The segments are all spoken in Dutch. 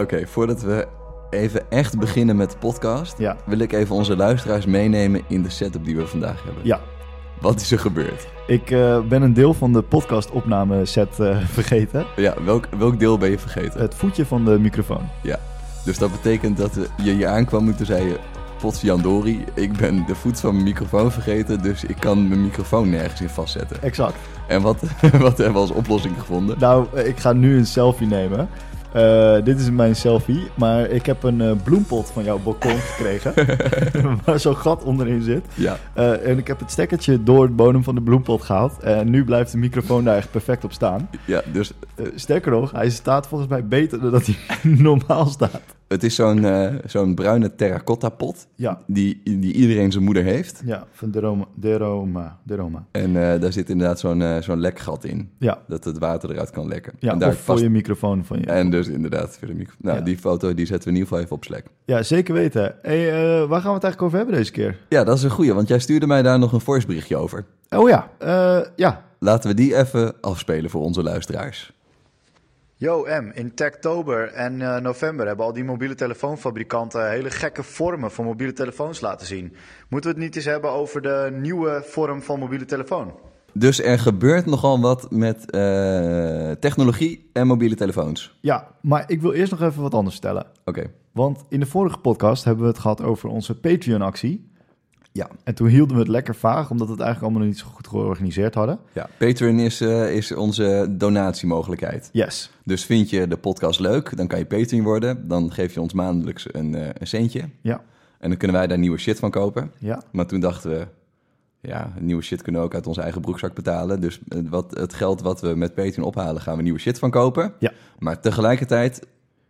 Oké, voordat we even echt beginnen met de podcast, Ja. wil ik even onze luisteraars meenemen in de setup die we vandaag hebben. Ja, Wat is er gebeurd? ik eh, ben een deel van de podcastopnameset eh vergeten. Ja, welk, welk deel ben je vergeten? Het voetje van de microfoon. Ja. Dus dat betekent dat we- je hier aankwam en toen zei je, pots Jandori, ik ben de voet van mijn microfoon vergeten, dus ik kan mijn microfoon nergens in vastzetten. Exact. En wat, wat hebben we als oplossing gevonden? Nou, eh, ik ga nu een selfie nemen. Eh, dit is mijn selfie, maar ik heb een eh, bloempot van jouw balkon gekregen. waar zo'n gat onderin zit. Ja, Eh, en ik heb het stekkertje door de bodem van de bloempot gehaald. En nu blijft de microfoon daar echt perfect op staan. ja dus Eh, sterker nog, hij staat volgens mij beter dan dat hij normaal staat. het is zo'n eh, zo'n bruine terracotta pot Ja, die, die iedereen zijn moeder heeft. ja van de Roma. De Roma. De Roma. En eh, daar zit inderdaad zo'n eh, zo'n lekgat in. Ja, Dat het water eruit kan lekken. ja en daar of voor je microfoon van je. En dus inderdaad, voor de micro... Nou, Ja. die foto die zetten we in ieder geval even op Slack. Ja, zeker weten. Hey, eh, waar gaan we het eigenlijk over hebben deze keer? Ja, dat is een goeie, want jij stuurde mij daar nog een voiceberichtje over. Oh ja, eh, ja. Laten we die even afspelen voor onze luisteraars. Yo M, in Techtober en eh, november hebben al die mobiele telefoonfabrikanten hele gekke vormen van mobiele telefoons laten zien. Moeten we het niet eens hebben over de nieuwe vorm van mobiele telefoon? Dus er gebeurt nogal wat met eh, technologie en mobiele telefoons. Ja, maar ik wil eerst nog even wat anders vertellen. Oké, Want in de vorige podcast hebben we het gehad over onze Patreon-actie. ja. En toen hielden we het lekker vaag, omdat we het eigenlijk allemaal nog niet zo goed georganiseerd hadden. ja. Patreon is, eh, is onze donatiemogelijkheid. Yes. Dus vind je de podcast leuk, dan kan je Patreon worden. Dan geef je ons maandelijks een, eh, een centje. Ja, En dan kunnen wij daar nieuwe shit van kopen. ja. Maar toen dachten we, ja, nieuwe shit kunnen we ook uit onze eigen broekzak betalen. Dus eh, wat, het geld wat we met Patreon ophalen, gaan we nieuwe shit van kopen. Ja. Maar tegelijkertijd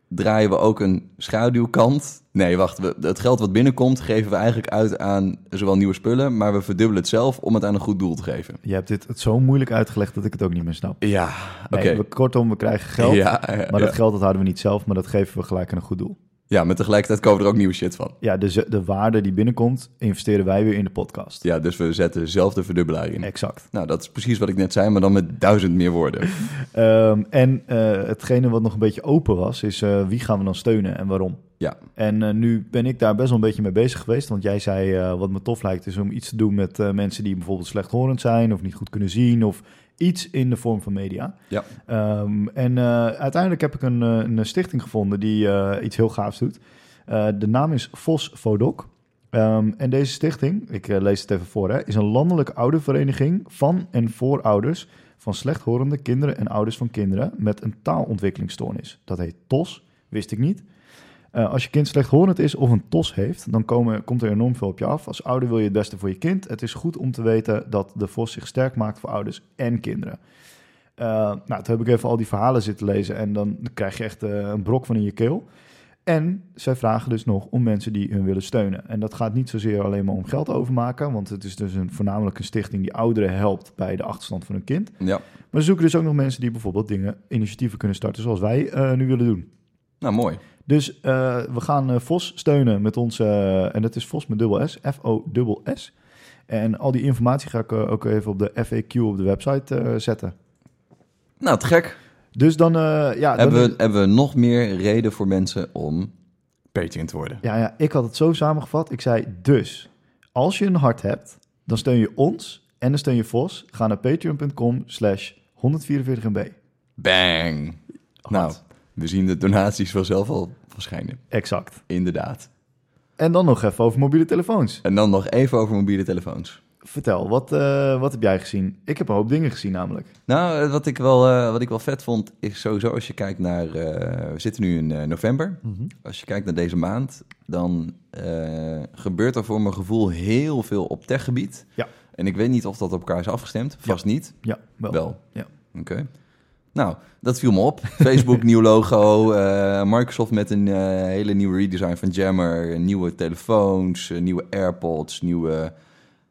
draaien we ook een schaduwkant. Nee, wacht, we, het geld wat binnenkomt geven we eigenlijk uit aan zowel nieuwe spullen, maar we verdubbelen het zelf om het aan een goed doel te geven. Je hebt dit het zo moeilijk uitgelegd dat ik het ook niet meer snap. Ja, oké. Nee, we, kortom, we krijgen geld. Ja, ja, Maar dat ja. geld dat houden we niet zelf, maar dat geven we gelijk aan een goed doel. ja, maar tegelijkertijd kopen we er ook nieuwe shit van. Ja, dus eh, de waarde die binnenkomt, investeren wij weer in de podcast. Ja, dus we zetten zelf de verdubbelaar in. Exact. Nou, dat is precies wat ik net zei, maar dan met duizend meer woorden. Ehm, en eh, hetgene wat nog een beetje open was, is eh, wie gaan we dan steunen en waarom? Ja, En eh, nu ben ik daar best wel een beetje mee bezig geweest. Want jij zei, eh, wat me tof lijkt, is om iets te doen met eh, mensen die bijvoorbeeld slechthorend zijn of niet goed kunnen zien of iets in de vorm van media. ja. Ehm, en eh, uiteindelijk heb ik een, eh, een stichting gevonden die eh, iets heel gaafs doet. Eh, de naam is Vos Vodoc. Ehm, en deze stichting, ik eh, lees het even voor, hè, is een landelijke oudervereniging van en voor ouders van slechthorende kinderen en ouders van kinderen met een taalontwikkelingsstoornis. Dat heet TOS, wist ik niet. Eh, als je kind slechthorend is of een TOS heeft, dan komen, komt er enorm veel op je af. Als ouder wil je het beste voor je kind. Het is goed om te weten dat de VOS zich sterk maakt voor ouders en kinderen. Eh, nou, toen heb ik even al die verhalen zitten lezen en dan krijg je echt eh, een brok van in je keel. En zij vragen dus nog om mensen die hun willen steunen. En dat gaat niet zozeer alleen maar om geld overmaken, want het is dus een, voornamelijk een stichting die ouderen helpt bij de achterstand van hun kind. ja. Maar ze zoeken dus ook nog mensen die bijvoorbeeld dingen, initiatieven kunnen starten zoals wij eh, nu willen doen. Nou, mooi. Dus eh, we gaan eh, Vos steunen met ons, eh, en dat is Vos met dubbel S, F-O-S. En al die informatie ga ik eh, ook even op de FAQ op de website eh, zetten. Nou, te gek. Dus dan, eh, ja, dan Hebben we, hebben we nog meer reden voor mensen om Patreon te worden? ja, ja, ik had het zo samengevat. Ik zei dus, als je een hart hebt, dan steun je ons en dan steun je Vos. Ga naar patreon.com slash 144mb. Bang! Nou, we zien de donaties vanzelf al verschijnen. Exact. Inderdaad. En dan nog even over mobiele telefoons. En dan nog even over mobiele telefoons. Vertel, wat, eh, wat heb jij gezien? Ik heb een hoop dingen gezien namelijk. Nou, eh, wat ik wel, eh, wat ik wel vet vond, is sowieso als je kijkt naar... eh, we zitten nu in eh, november. Als je kijkt naar deze maand, dan eh, gebeurt er voor mijn gevoel heel veel op techgebied. Ja. En ik weet niet of dat op elkaar is afgestemd. Vast niet. Ja, wel. Wel. Ja. Oké. Nou, dat viel me op. Facebook, nieuw logo. eh, Microsoft met een eh, hele nieuwe redesign van Jammer. eh, Nieuwe telefoons, eh, nieuwe AirPods, nieuwe...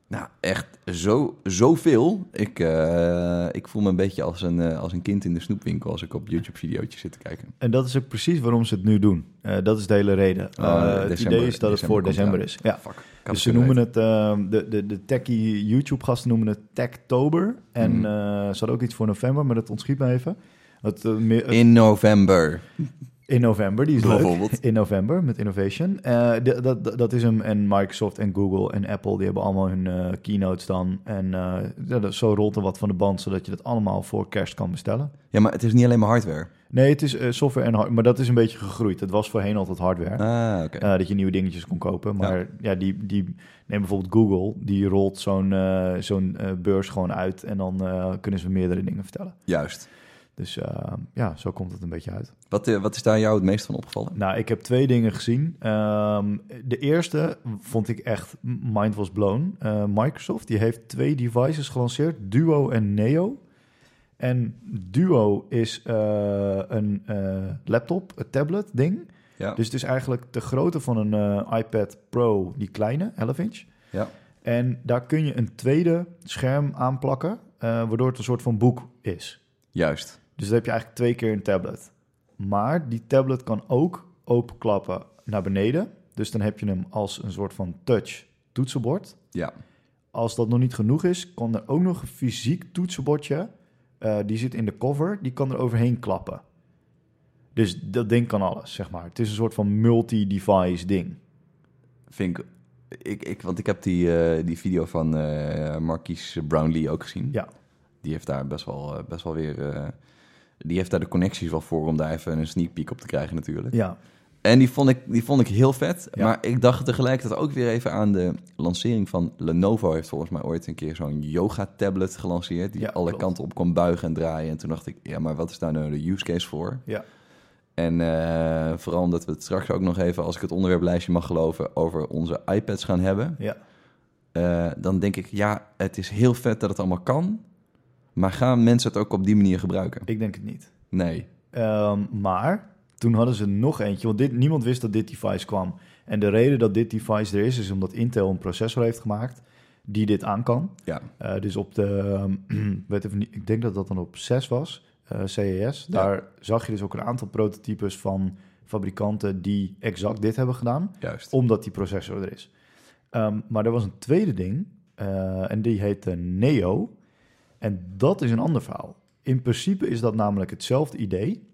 Nou, echt zo, zoveel. Ik, eh, ik voel me een beetje als een, eh, als een kind in de snoepwinkel als ik op YouTube-videootjes zit te kijken. En dat is ook precies waarom ze het nu doen. Eh, dat is de hele reden. Oh, Eh, het december. idee is dat het voor komt december eraan. is. Ja. Fuck. ik had Dus het ze kunnen noemen het, eh, de, de, de techie YouTube-gasten noemen het Techtober. En Mhm. eh ze hadden ook iets voor november, maar dat ontschiet me even. Het, eh, meer- het- weten. In november. In november, die is leuk. Bijvoorbeeld. In november met Innovation. Eh, d- dat, dat- dat is hem. En Microsoft en Google en Apple, die hebben allemaal hun eh, keynotes dan. En eh, ja, dat- zo rolt er wat van de band, zodat je dat allemaal voor kerst kan bestellen. Ja, maar het is niet alleen maar hardware. Nee, het is eh, software en hardware, maar dat is een beetje gegroeid. Dat was voorheen altijd hardware. Ah, oké. Eh, dat je nieuwe dingetjes kon kopen. Maar ja, die, die neem bijvoorbeeld Google, die rolt zo'n eh, zo'n eh, beurs gewoon uit. En dan eh, kunnen ze meerdere dingen vertellen. Juist. Dus eh, ja, zo komt het een beetje uit. Wat, eh, wat is daar jou het meest van opgevallen? Nou, ik heb twee dingen gezien. Ehm, de eerste vond ik echt mind was blown. Eh, Microsoft die heeft twee devices gelanceerd, Duo en Neo. En Duo is eh, een eh, laptop, een tablet ding. Ja. Dus het is eigenlijk de grootte van een eh, iPad Pro, die kleine, 11 inch. Ja. En daar kun je een tweede scherm aan plakken, eh, waardoor het een soort van boek is. Juist. Dus dan heb je eigenlijk twee keer een tablet. Maar die tablet kan ook openklappen naar beneden. Dus dan heb je hem als een soort van touch toetsenbord. Ja. Als dat nog niet genoeg is, kan er ook nog een fysiek toetsenbordje. eh, die zit in de cover, die kan er overheen klappen. Dus dat ding kan alles, zeg maar. Het is een soort van multi-device ding. Vind ik, ik, ik, want ik heb die, eh, die video van eh Marquis Brownlee ook gezien. Ja. Die heeft daar best wel, eh, best wel weer... eh, die heeft daar de connecties wel voor om daar even een sneak peek op te krijgen natuurlijk. Ja, En die vond ik, die vond ik heel vet. Ja. Maar ik dacht tegelijkertijd ook weer even aan de lancering van Lenovo. Heeft volgens mij ooit een keer zo'n yoga-tablet gelanceerd. Die Ja, alle klopt. kanten op kon buigen en draaien. En toen dacht ik, ja, maar wat is daar nou de use case voor? ja. En eh, vooral omdat we het straks ook nog even, als ik het onderwerplijstje mag geloven, over onze iPads gaan hebben. ja. Eh, dan denk ik, ja, het is heel vet dat het allemaal kan. Maar gaan mensen het ook op die manier gebruiken? Ik denk het niet. Nee. Ehm, maar toen hadden ze nog eentje, want dit, niemand wist dat dit device kwam. En de reden dat dit device er is, is omdat Intel een processor heeft gemaakt die dit aan kan. Ja, Eh, dus op de, ehm, weet even niet, ik denk dat dat dan op 6 was, eh, CES. Ja. Daar zag je dus ook een aantal prototypes van fabrikanten die exact dit hebben gedaan juist. omdat die processor er is. Ehm, maar er was een tweede ding, eh, en die heette Neo. En dat is een ander verhaal. In principe is dat namelijk hetzelfde idee.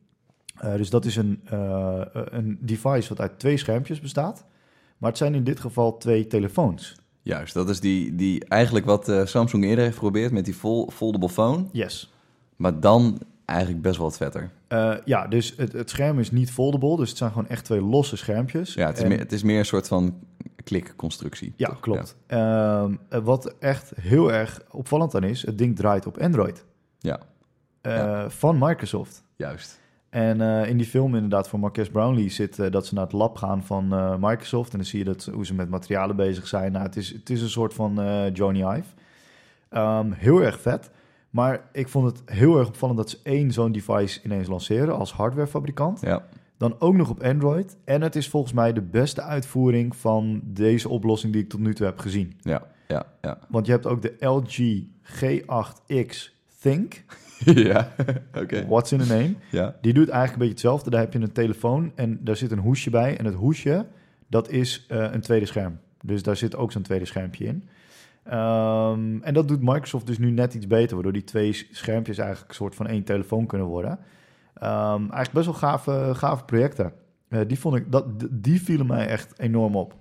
Eh, dus dat is een, eh, een device wat uit twee schermpjes bestaat. Maar het zijn in dit geval twee telefoons. Juist, dat is die, die eigenlijk wat eh, Samsung eerder heeft geprobeerd met die vol- foldable phone. Yes. Maar dan eigenlijk best wel wat vetter. Eh, ja, dus het, het scherm is niet foldable. Dus het zijn gewoon echt twee losse schermpjes. Dus Ja, het is, En- meer, het is meer een soort van klikconstructie. Ja, toch? klopt. Ehm, eh, wat echt heel erg opvallend aan is, het ding draait op Android. Ja. Eh, Ja. Van Microsoft. Ja, juist. En eh, in die film inderdaad van Marques Brownlee zit eh, dat ze naar het lab gaan van eh, Microsoft. En dan zie je dat, ze- hoe ze met materialen bezig zijn. Nou, het, is, het is een soort van eh, Johnny Ive. Ehm, heel erg vet. Maar ik vond het heel erg opvallend dat ze één zo'n device ineens lanceren als hardwarefabrikant. Ja, Dan ook nog op Android. En het is volgens mij de beste uitvoering van deze oplossing die ik tot nu toe heb gezien. ja, ja, ja. Want je hebt ook de LG G8X Think. ja, oké. What's in the name? Ja, Die doet eigenlijk een beetje hetzelfde. Daar heb je een telefoon en daar zit een hoesje bij. En het hoesje, dat is eh, een tweede scherm. Dus daar zit ook zo'n tweede schermpje in. Ehm, en dat doet Microsoft dus nu net iets beter, waardoor die twee s- schermpjes eigenlijk een soort van één telefoon kunnen worden. Ehm, eigenlijk best wel gave, gave projecten. Eh, die, vond ik, dat, d- die vielen mij echt enorm op.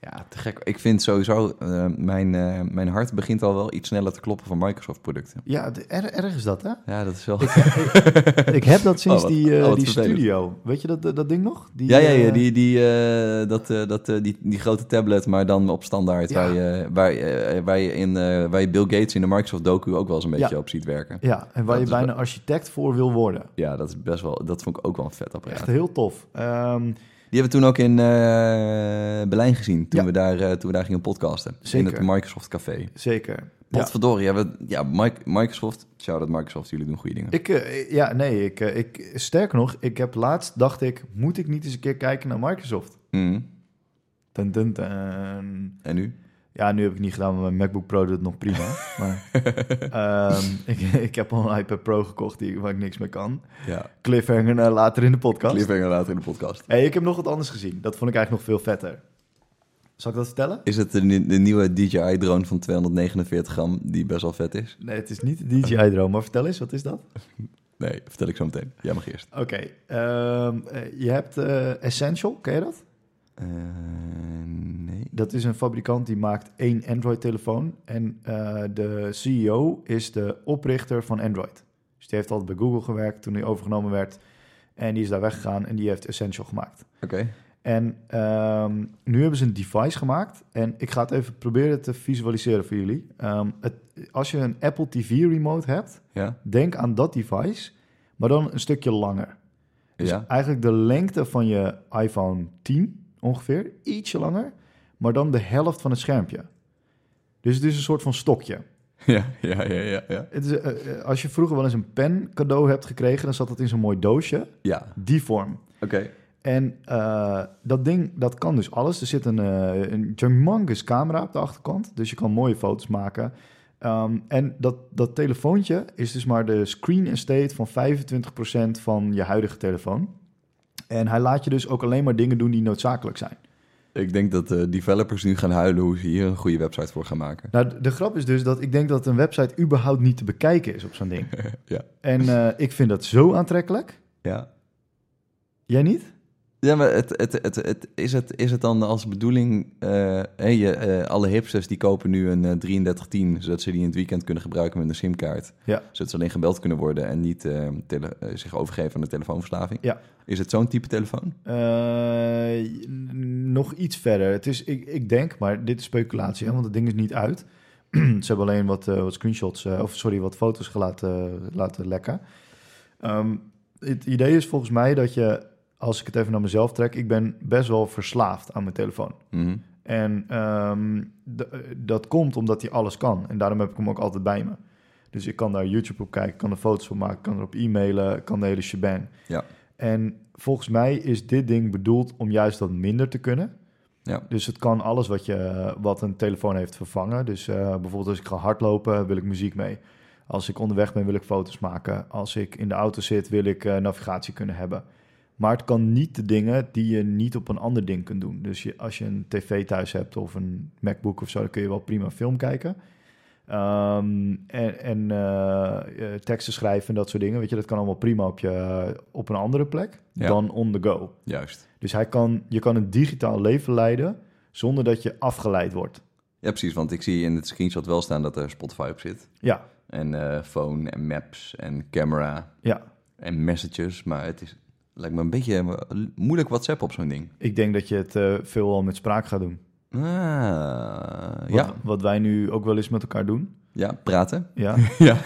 ja te gek. Ik vind sowieso, eh, mijn, eh, mijn hart begint al wel iets sneller te kloppen van Microsoft-producten. Ja, de- er, erg is dat, hè? Ja, dat is wel... ik heb dat sinds Oh, wat- die, eh, oh, wat die vervelend. studio. Weet je dat, dat, dat ding nog? Die, ja, ja, ja, eh, die, die, eh, dat, eh, dat, eh, die, die grote tablet, maar dan op standaard, Ja. waar, je, waar, je- waar, je in, eh, waar je Bill Gates in de Microsoft-docu ook wel eens een beetje op ziet werken. Ja, en waar Dat je is bijna architect voor wil worden. Ja, dat is best wel. Dat vond ik ook wel een vet apparaat. Echt heel tof. Ehm, Die hebben we toen ook in eh, Berlijn gezien. Toen, Ja. we daar, eh, toen we daar gingen podcasten. Zeker. In het Microsoft Café. zeker. Ja. Potverdorie, ja. hebben we- ja, Mic- Microsoft. Shout out Microsoft, jullie doen goede dingen. Ik, eh, ja, nee, ik, eh, ik, sterker nog, ik heb laatst dacht ik, moet ik niet eens een keer kijken naar Microsoft? Mm. Dun, dun, dun. En nu? Ja, nu heb ik het niet gedaan, want mijn MacBook Pro doet het nog prima. maar, ehm, ik, ik heb al een iPad Pro gekocht die, waar ik niks mee kan. Ja, Cliffhanger naar later in de podcast. cliffhanger later in de podcast. Hey, ik heb nog wat anders gezien. Dat vond ik eigenlijk nog veel vetter. Zal ik dat vertellen? Is het de, ni- de nieuwe DJI-drone van 249 gram, die best wel vet is? Nee, het is niet de DJI-drone, maar vertel eens, wat is dat? Nee, vertel ik zo meteen. Jij mag eerst. Oké, ehm, eh, je hebt eh, Essential, ken je dat? Eh, nee. Dat is een fabrikant die maakt één Android-telefoon. En eh, de CEO is de oprichter van Android. Dus die heeft altijd bij Google gewerkt toen hij overgenomen werd. En die is daar weggegaan en die heeft Essential gemaakt. Oké. En ehm, nu hebben ze een device gemaakt. En ik ga het even proberen te visualiseren voor jullie. Ehm, het, als je een Apple TV remote hebt, Ja. denk aan dat device, maar dan een stukje langer. Dus Ja. eigenlijk de lengte van je iPhone 10 ongeveer, ietsje langer, maar dan de helft van het schermpje. Dus het is een soort van stokje. Ja, ja, ja, ja. Ja. Het is, eh, eh, als je vroeger wel eens een pen cadeau hebt gekregen, dan zat dat in zo'n mooi doosje. ja. Die vorm. Oké. En eh, dat ding, dat kan dus alles. Er zit een, eh een humongous camera op de achterkant, dus je kan mooie foto's maken. Ehm, en dat, dat telefoontje is dus maar de screen estate van 25% van je huidige telefoon. En hij laat je dus ook alleen maar dingen doen die noodzakelijk zijn. Ik denk dat de developers nu gaan huilen hoe ze hier een goede website voor gaan maken. Nou, de- de grap is dus dat ik denk dat een website überhaupt niet te bekijken is op zo'n ding. Ja. En eh, ik vind dat zo aantrekkelijk. Ja. Jij niet? Ja, maar het, het, het, het, is, het, is het dan als bedoeling... eh, hé, je, eh, alle hipsters die kopen nu een eh, 3310... zodat ze die in het weekend kunnen gebruiken met een simkaart. Ja. Zodat ze alleen gebeld kunnen worden... en niet eh, tele- eh, zich overgeven aan de telefoonverslaving. Ja. Is het zo'n type telefoon? Eh, n- nog iets verder. Het is, ik, ik denk, maar dit is speculatie, hè, want het ding is niet uit. Ze hebben alleen wat, eh, wat screenshots, eh, of sorry, wat foto's gelaten, laten lekken. Ehm, het idee is volgens mij dat je, als ik het even naar mezelf trek, ik ben best wel verslaafd aan mijn telefoon. Mhm. En ehm, d- dat komt omdat hij alles kan. En daarom heb ik hem ook altijd bij me. Dus ik kan daar YouTube op kijken, ik kan er foto's van maken, ik kan erop e-mailen, ik kan de hele shebang. Ja. En volgens mij is dit ding bedoeld om juist dat minder te kunnen. Ja. Dus het kan alles wat, je, wat een telefoon heeft vervangen. Dus eh, bijvoorbeeld als ik ga hardlopen, wil ik muziek mee. Als ik onderweg ben, wil ik foto's maken. Als ik in de auto zit, wil ik eh, navigatie kunnen hebben. Maar het kan niet de dingen die je niet op een ander ding kunt doen. Dus je, als je een tv thuis hebt of een MacBook of zo, dan kun je wel prima film kijken. Ehm, en en eh, eh, teksten schrijven en dat soort dingen. Weet je, dat kan allemaal prima op, je, op een andere plek Ja. dan on the go. Juist. Dus hij kan, je kan een digitaal leven leiden zonder dat je afgeleid wordt. Ja, precies. Want ik zie in het screenshot wel staan dat er Spotify op zit. Ja, En eh, phone en maps en camera ja. en messages. Maar het is, lijkt me een beetje eh, moeilijk WhatsApp op zo'n ding. Ik denk dat je het eh, veel al met spraak gaat doen. Ah, Wat, ja. wat wij nu ook wel eens met elkaar doen. ja, praten. Ja, Ja.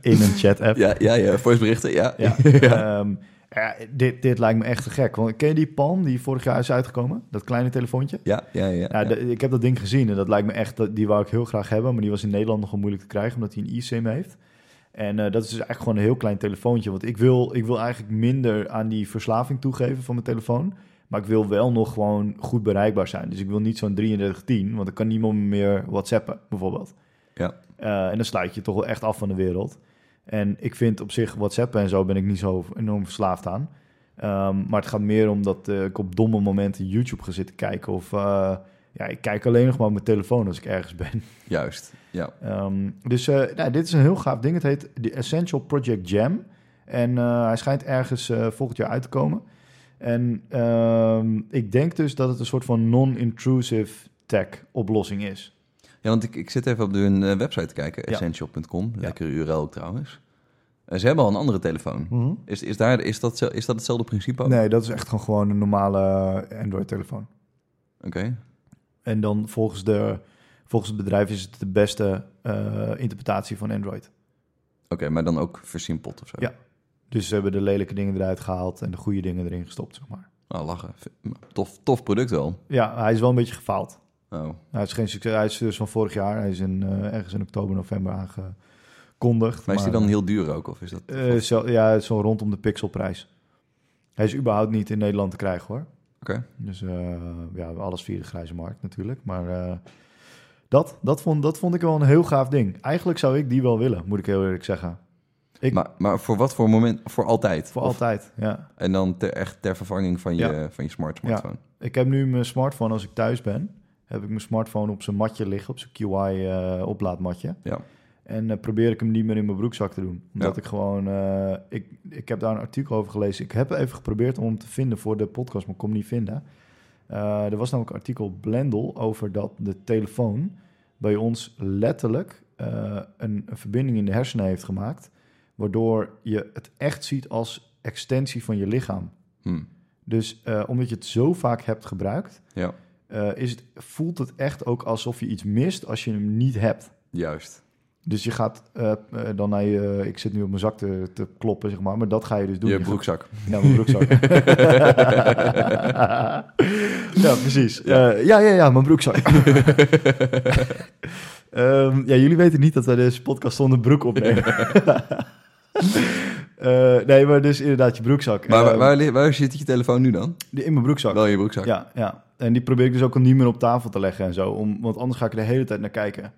in een chat-app. ja, ja, ja, voiceberichten, ja. Ja. ehm, ja, dit, dit lijkt me echt te gek. Want ken je die Palm die vorig jaar is uitgekomen? Dat kleine telefoontje? Ja, ja, ja. Ja, de- ik heb dat ding gezien en dat lijkt me echt, dat- die wou ik heel graag hebben, maar die was in Nederland nogal moeilijk te krijgen omdat hij een eSIM heeft. En eh, dat is dus eigenlijk gewoon een heel klein telefoontje, want ik wil, ik wil eigenlijk minder aan die verslaving toegeven van mijn telefoon, maar ik wil wel nog gewoon goed bereikbaar zijn. Dus ik wil niet zo'n 3310, want dan kan niemand me meer whatsappen bijvoorbeeld. Ja. Eh, en dan sluit je toch wel echt af van de wereld. En ik vind op zich WhatsApp en zo ben ik niet zo enorm verslaafd aan. Ehm, maar het gaat meer om dat eh, ik op domme momenten YouTube ga zitten kijken. Of eh, ja, ik kijk alleen nog maar op mijn telefoon als ik ergens ben. Juist, ja. Ehm, dus eh, nou, dit is een heel gaaf ding. Het heet de Essential Project Jam. En eh, hij schijnt ergens eh, volgend jaar uit te komen. En ehm, ik denk dus dat het een soort van non-intrusive tech oplossing is. Ja, want ik, ik zit even op hun eh, website te kijken, Ja. essential.com. Lekkere URL ook trouwens. Eh, ze hebben al een andere telefoon. Is, is, daar, is, dat, zo- is dat hetzelfde principe ook? Hm. Nee, dat is echt gewoon- gewoon een normale Android-telefoon. Oké. En dan volgens, de, volgens het bedrijf is het de beste eh, interpretatie van Android. Oké, maar dan ook versimpeld of zo. Ja. Dus ze hebben de lelijke dingen eruit gehaald en de goede dingen erin gestopt, zeg maar. Nou, lachen. Tof, tof product wel. Ja, hij is wel een beetje gefaald. Oh, Hij Nou, is geen succes. Hij is dus van vorig jaar. Hij is in, eh, ergens in oktober, november aangekondigd. Maar is die dan heel duur ook? Of is dat... eh, zo, ja, zo rondom de pixelprijs. Hij is überhaupt niet in Nederland te krijgen, hoor. Oké. Dus eh, ja, alles via de grijze markt natuurlijk. Maar eh, dat, dat, vond, dat vond ik wel een heel gaaf ding. Eigenlijk zou ik die wel willen, moet ik heel eerlijk zeggen. ik- maar, maar voor wat voor moment? Voor altijd? Voor Of- altijd, ja. En dan ter, echt ter vervanging van je, van je smart smartphone? Ik heb nu mijn smartphone, als ik thuis ben, heb ik mijn smartphone op zijn matje liggen, op zijn QI-oplaadmatje. Ja. eh, En eh, probeer ik hem niet meer in mijn broekzak te doen. Omdat Ja. ik gewoon... eh, ik, ik heb daar een artikel over gelezen. Ik heb even geprobeerd om hem te vinden voor de podcast, maar ik kon hem niet vinden. Eh, er was namelijk een artikel Blendel over dat de telefoon bij ons letterlijk eh, een, een verbinding in de hersenen heeft gemaakt. Waardoor je het echt ziet als extensie van je lichaam. Hm. Dus eh, omdat je het zo vaak hebt gebruikt, Ja, eh, is het, voelt het echt ook alsof je iets mist als je hem niet hebt. juist. Dus je gaat eh, eh, dan naar je... Ik zit nu op mijn zak te, te kloppen, zeg maar. Maar dat ga je dus doen. je gaat- broekzak. ja, mijn broekzak. ja, precies. Eh, Ja. Ja. ja, ja, ja, mijn broekzak. Ehm, ja, jullie weten niet dat wij deze podcast zonder broek opnemen. Eh, nee, maar dus inderdaad je broekzak. Maar waar, Ehm, waar, li- waar zit je telefoon nu dan? die- in mijn broekzak. Wel in je broekzak. Oh. Ja, ja. En die probeer ik dus ook al niet meer op tafel te leggen en zo. Om, want anders ga ik er de hele tijd naar kijken.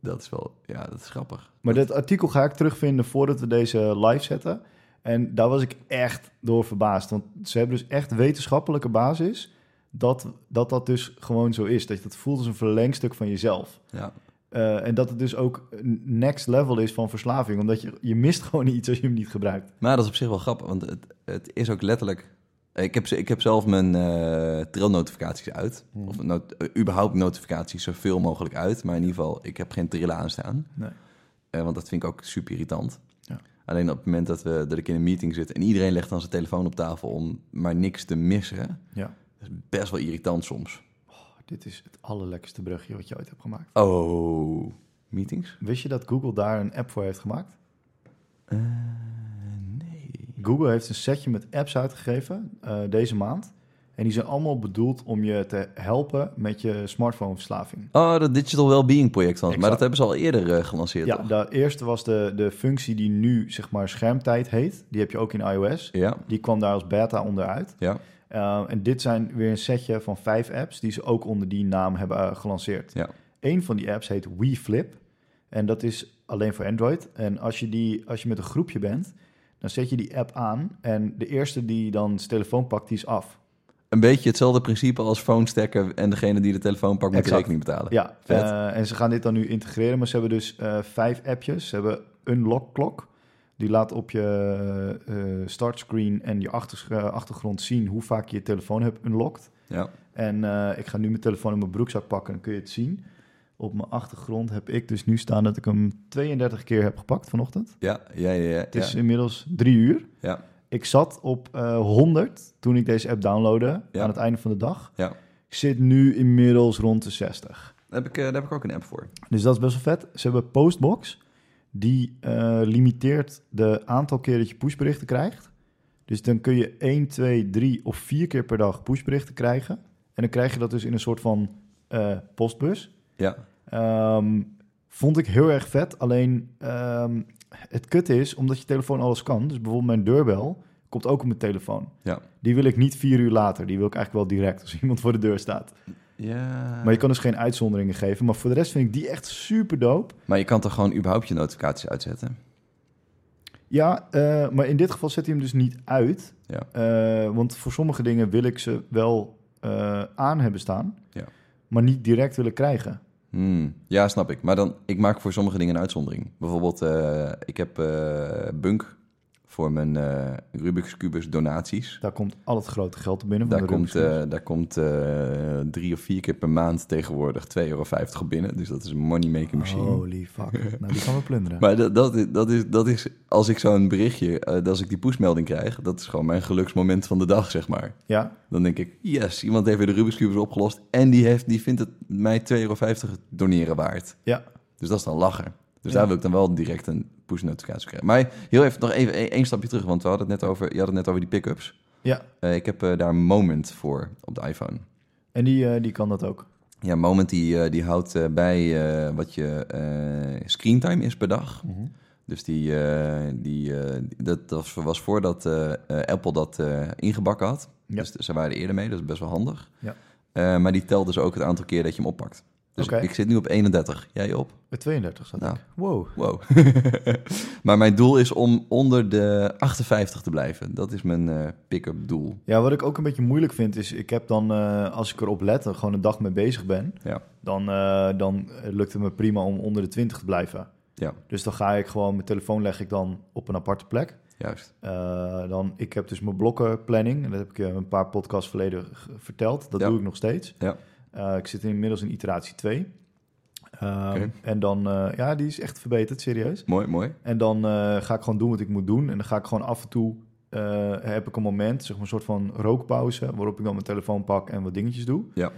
Dat is wel, ja, dat is grappig. Maar dat artikel ga ik terugvinden voordat we deze live zetten. En daar was ik echt door verbaasd. Want ze hebben dus echt wetenschappelijke basis dat dat, dat dus gewoon zo is. Dat je dat voelt als een verlengstuk van jezelf. Ja, Eh, en dat het dus ook een next level is van verslaving. Omdat je, je mist gewoon iets als je hem niet gebruikt. Maar dat is op zich wel grappig, want het, het is ook letterlijk... Ik heb, ze- ik heb zelf mijn eh trilnotificaties uit. Hmm. Of not- eh, überhaupt notificaties zoveel mogelijk uit. Maar in ieder geval, ik heb geen trillen aanstaan. Nee. Eh, want dat vind ik ook super irritant. Ja. Alleen op het moment dat, we, dat ik in een meeting zit... en iedereen legt dan zijn telefoon op tafel om maar niks te missen... Ja. dat is best wel irritant soms. Oh, Dit is het allerlekkerste brugje wat je ooit hebt gemaakt. Oh, meetings? Wist je dat Google daar een app voor heeft gemaakt? Eh, Nee. Google heeft een setje met apps uitgegeven eh, deze maand. En die zijn allemaal bedoeld om je te helpen met je smartphoneverslaving. Oh, dat Digital Wellbeing project van. Maar Exact. dat hebben ze al eerder eh, gelanceerd, Ja, toch? de eerste was de, de functie die nu zeg maar schermtijd heet. Die heb je ook in iOS. Ja, Die kwam daar als beta onderuit. ja. Eh, en dit zijn weer een setje van vijf apps die ze ook onder die naam hebben eh, gelanceerd. Ja. Eén van die apps heet WeFlip. En dat is alleen voor Android. En als je, die, als je met een groepje bent, dan zet je die app aan. En de eerste die dan zijn telefoon pakt, die is af. Een beetje hetzelfde principe als phone stacken en degene die de telefoon pakt moet de Exact. rekening betalen. Ja, Vet. eh, en ze gaan dit dan nu integreren, maar ze hebben dus eh, vijf appjes. Ze hebben Unlock Clock, die laat op je eh, startscreen en je achters- eh, achtergrond zien hoe vaak je je telefoon hebt unlocked. Ja. En eh, ik ga nu mijn telefoon in mijn broekzak pakken, dan kun je het zien. Op mijn achtergrond heb ik dus nu staan dat ik hem 32 keer heb gepakt vanochtend. Ja, ja, ja. ja, Het ja. is inmiddels drie uur. Ja. Ik zat op eh 100 toen ik deze app downloadde Ja. aan het einde van de dag. Ja. Ik zit nu inmiddels rond de 60. Daar, heb ik, eh, daar heb ik ook een app voor. Dus dat is best wel vet. Ze hebben Postbox. Die eh, limiteert de aantal keer dat je pushberichten krijgt. Dus dan kun je 1, 2, 3 of 4 keer per dag pushberichten krijgen. En dan krijg je dat dus in een soort van eh, postbus. Ja, Ehm, vond ik heel erg vet. Alleen ehm, het kut is, omdat je telefoon alles kan. Dus bijvoorbeeld mijn deurbel komt ook op mijn telefoon. Ja. Die wil ik niet vier uur later. Die wil ik eigenlijk wel direct als iemand voor de deur staat. ja. Maar je kan dus geen uitzonderingen geven. Maar voor de rest vind ik die echt super dope. maar je kan toch gewoon überhaupt je notificaties uitzetten? Ja, eh, maar in dit geval zet hij hem dus niet uit. Ja. Eh, want voor sommige dingen wil ik ze wel eh, aan hebben staan. Ja. Maar niet direct willen krijgen. Hmm, Ja, snap ik. Maar dan, ik maak voor sommige dingen een uitzondering. Bijvoorbeeld, eh, ik heb eh, Bunk voor mijn eh, Rubik's Cubus donaties. Daar komt al het grote geld binnen. Van Daar de Rubik's komt, Cube. eh, daar komt eh, drie of vier keer per maand tegenwoordig 2,50 euro op binnen. Dus dat is een money-making machine. Holy fuck. nou, die gaan we plunderen. Maar dat, dat, is- dat, is, dat is, als ik zo'n berichtje, eh, dat als ik die pushmelding krijg, dat is gewoon mijn geluksmoment van de dag, zeg maar. ja, Dan denk ik, yes, iemand heeft weer de Rubik's Cube opgelost en die, heeft, die vindt het mij 2,50 euro doneren waard. ja. Dus dat is dan lachen. Dus Ja. daar wil ik dan wel direct een push-notificatie krijgen. Maar heel even, nog even e-, één één stapje terug, want we hadden het net over, je had het net over die pick-ups. Ja. Eh, ik heb eh, daar Moment voor op de iPhone. En die, eh, die kan dat ook. Ja, Moment die, eh, die houdt eh, bij eh, wat je eh, screentime is per dag. Dus die, eh, die, eh, dat, dat was- was voordat eh, eh, Apple dat eh, ingebakken had. Ja. Dus ze waren er eerder mee, dat is best wel handig. Ja. Eh, maar die telt dus ook het aantal keer dat je hem oppakt. Dus Oké. ik zit nu op 31. Jij op? Bij 32 Eh, zat Nou. ik. Wow. Wow. maar mijn doel is om onder de 58 te blijven. Dat is mijn eh, pick-up doel. Ja, wat ik ook een beetje moeilijk vind is... ik heb dan, eh, als ik erop let en gewoon een dag mee bezig ben... Ja. dan, eh, dan eh, lukt het me prima om onder de 20 te blijven. Ja. Dus dan ga ik gewoon, mijn telefoon leg ik dan op een aparte plek. Juist. Eh, dan, ik heb dus mijn blokkenplanning. En Dat heb ik je een paar podcasts verleden g- verteld. Dat Ja. doe ik nog steeds. Ja. Eh, ik zit inmiddels in iteratie 2. Ehm, Oké. En dan, eh, ja, die is echt verbeterd, serieus. Mooi, mooi. En dan eh, ga ik gewoon doen wat ik moet doen. En dan ga ik gewoon af en toe, eh, heb ik een moment, zeg maar een soort van rookpauze, waarop ik dan mijn telefoon pak en wat dingetjes doe. Ja.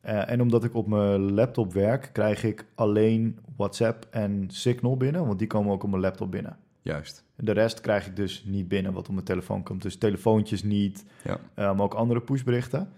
Eh, en omdat ik op mijn laptop werk, krijg ik alleen WhatsApp en Signal binnen, want die komen ook op mijn laptop binnen. Juist. De rest krijg ik dus niet binnen wat op mijn telefoon komt. Dus telefoontjes niet, Ja. eh, maar ook andere pushberichten.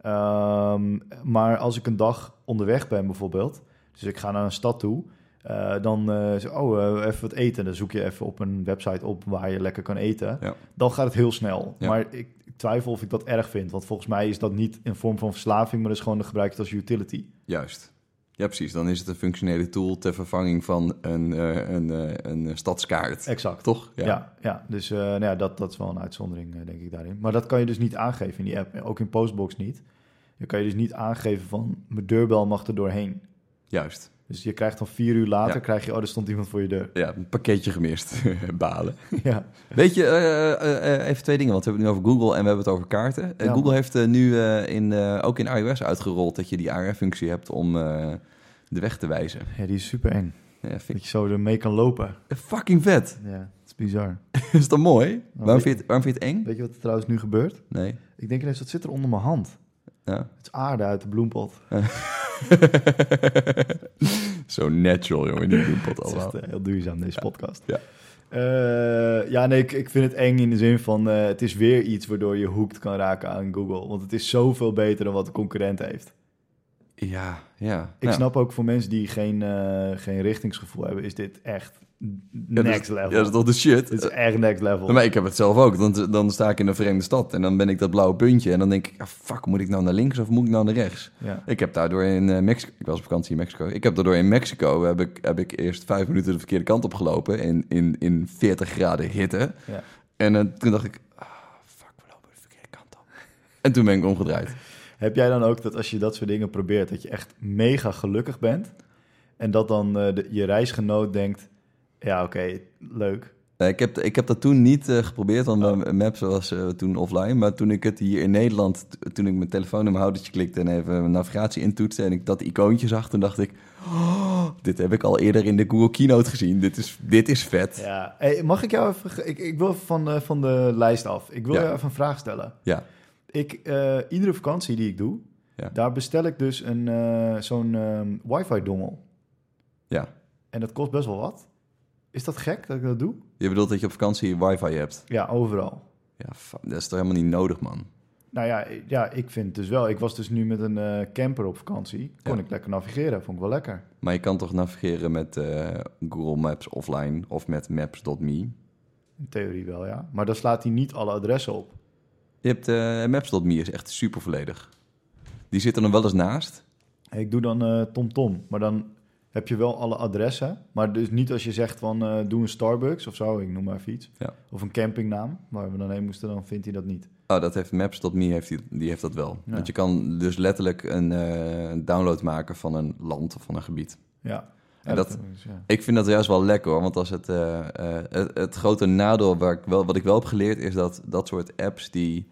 Ehm, maar als ik een dag onderweg ben bijvoorbeeld, dus ik ga naar een stad toe, eh, dan eh, zeg ik, oh, eh, even wat eten. Dan zoek je even op een website op waar je lekker kan eten. Ja. Dan gaat het heel snel. Ja. Maar ik, ik twijfel of ik dat erg vind, want volgens mij is dat niet een vorm van verslaving, maar dat is gewoon gebruikt als utility. Juist. Ja, precies. Dan is het een functionele tool ter vervanging van een, eh, een, eh, een stadskaart. Exact. Toch? Ja, ja, dus eh, nou ja, dat, dat is wel een uitzondering, eh, denk ik, daarin. Maar dat kan je dus niet aangeven in die app. Ook in Postbox niet. Dan kan je dus niet aangeven van... mijn deurbel mag er doorheen. Juist. Dus je krijgt dan vier uur later... Ja. krijg je... oh, er stond iemand voor je deur. Ja, een pakketje gemist. Balen. ja. Weet je, eh, eh, eh, even twee dingen, want we hebben het nu over Google en we hebben het over kaarten. Eh, Ja. Google heeft eh, nu eh, in, eh, ook in iOS uitgerold dat je die AR-functie hebt om eh, de weg te wijzen. ja, die is super eng. Ja, vind Dat je zo ermee kan lopen. ik fucking vet. Ja, dat is bizar. Is dat mooi? Waarom weet vind, je het, waarom vind je het eng? Weet je wat er trouwens nu gebeurt? Nee. Ik denk ineens, dat zit er onder mijn hand. Ja. Het is aarde uit de bloempot. Zo natural, jongen, die bloempot Dat is allemaal. echt eh, heel duurzaam, deze podcast. Ja. Eh, ja, nee, ik, ik vind het eng in de zin van... eh, het is weer iets waardoor je hoekt kan raken aan Google. Want het is zoveel beter dan wat de concurrent heeft. Ja, ja. Nou. Ik Ja. snap ook voor mensen die geen, eh, geen richtingsgevoel hebben... is dit echt Ja, dat next is- level. Ja, dus dat is toch de shit? Dit is echt next level. Eh, maar ik heb het zelf ook. Dan, dan sta ik in een vreemde stad en dan ben ik dat blauwe puntje. En dan denk ik, ah, fuck, moet ik nou naar links of moet ik nou naar rechts? Ja. Ik heb daardoor in eh, Mexico... Ik was op vakantie in Mexico. Ik heb daardoor in Mexico... heb ik, heb ik eerst vijf minuten de verkeerde kant op gelopen... in, in, in 40 graden hitte. Ja. En eh, toen dacht ik... Ah, fuck, we lopen de verkeerde kant op. En toen ben ik omgedraaid. Heb jij dan ook dat als je dat soort dingen probeert... dat je echt mega gelukkig bent... en dat dan eh, de- je reisgenoot denkt... ja, oké, leuk. Eh, ik, heb, ik heb dat toen niet eh, geprobeerd, want mijn Maps was eh, toen offline. Maar toen ik het hier in Nederland... t- toen ik mijn telefoon in mijn houdertje klikte... en even mijn navigatie intoetste... en ik dat icoontje zag, toen dacht ik... "Oh, dit heb ik al eerder in de Google Keynote gezien. Dit is, dit is vet. Ja. Ja. Hey, mag ik jou even... ge- Ik, ik wil even van, eh, van de lijst af. Ik wil Ja. jou even een vraag stellen. Ja. Ik, eh, iedere vakantie die ik doe... Ja. daar bestel ik dus een, eh, zo'n ehm, wifi-dongel. En dat kost best wel wat. Is dat gek dat ik dat doe? Je bedoelt dat je op vakantie wifi hebt? Ja, overal. Ja, fa- dat is toch helemaal niet nodig, man? Nou ja, i- ja, ik vind het dus wel. Ik was dus nu met een eh, camper op vakantie. Kon Ja. ik lekker navigeren. Vond ik wel lekker. Maar je kan toch navigeren met eh, Google Maps offline of met maps.me? In theorie wel, ja. Maar dan slaat hij niet alle adressen op. Je hebt eh, maps.me is echt super volledig. Die zit er nog wel eens naast. Ik doe dan eh, TomTom. maar dan heb je wel alle adressen. Maar dus niet als je zegt van eh, doe een Starbucks of zo. Ik noem maar even iets. Ja. Of een campingnaam. Waar we dan heen moesten, dan vindt hij dat niet. Oh, dat heeft maps.me heeft die, die heeft dat wel. Ja. Want je kan dus letterlijk een eh, een download maken van een land of van een gebied. Ja. En dat- ja. Ik vind dat juist wel lekker hoor, want als het, eh, eh, het, het grote nadeel waar ik wel, wat ik wel heb geleerd is dat dat soort apps die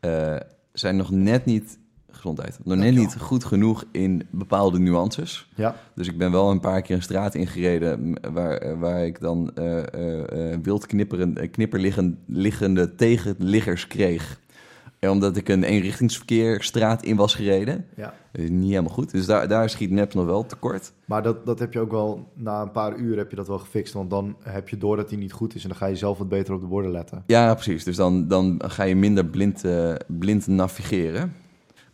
eh, zijn nog net niet gezondheid, nog net Dankjewel. niet goed genoeg in bepaalde nuances. ja. Dus ik ben wel een paar keer een straat ingereden m- waar, eh, waar ik dan eh eh, eh, wild knipperen, eh, knipperliggen- liggende tegenliggers kreeg. En omdat ik een eenrichtingsverkeer straat in was gereden. ja. Dat is niet helemaal goed. Dus daar, daar schiet Maps nog wel tekort. Maar dat, dat heb je ook wel, na een paar uur heb je dat wel gefixt. Want dan heb je door dat die niet goed is en dan ga je zelf wat beter op de borden letten. Ja, precies. Dus dan, dan ga je minder blind, eh, blind navigeren.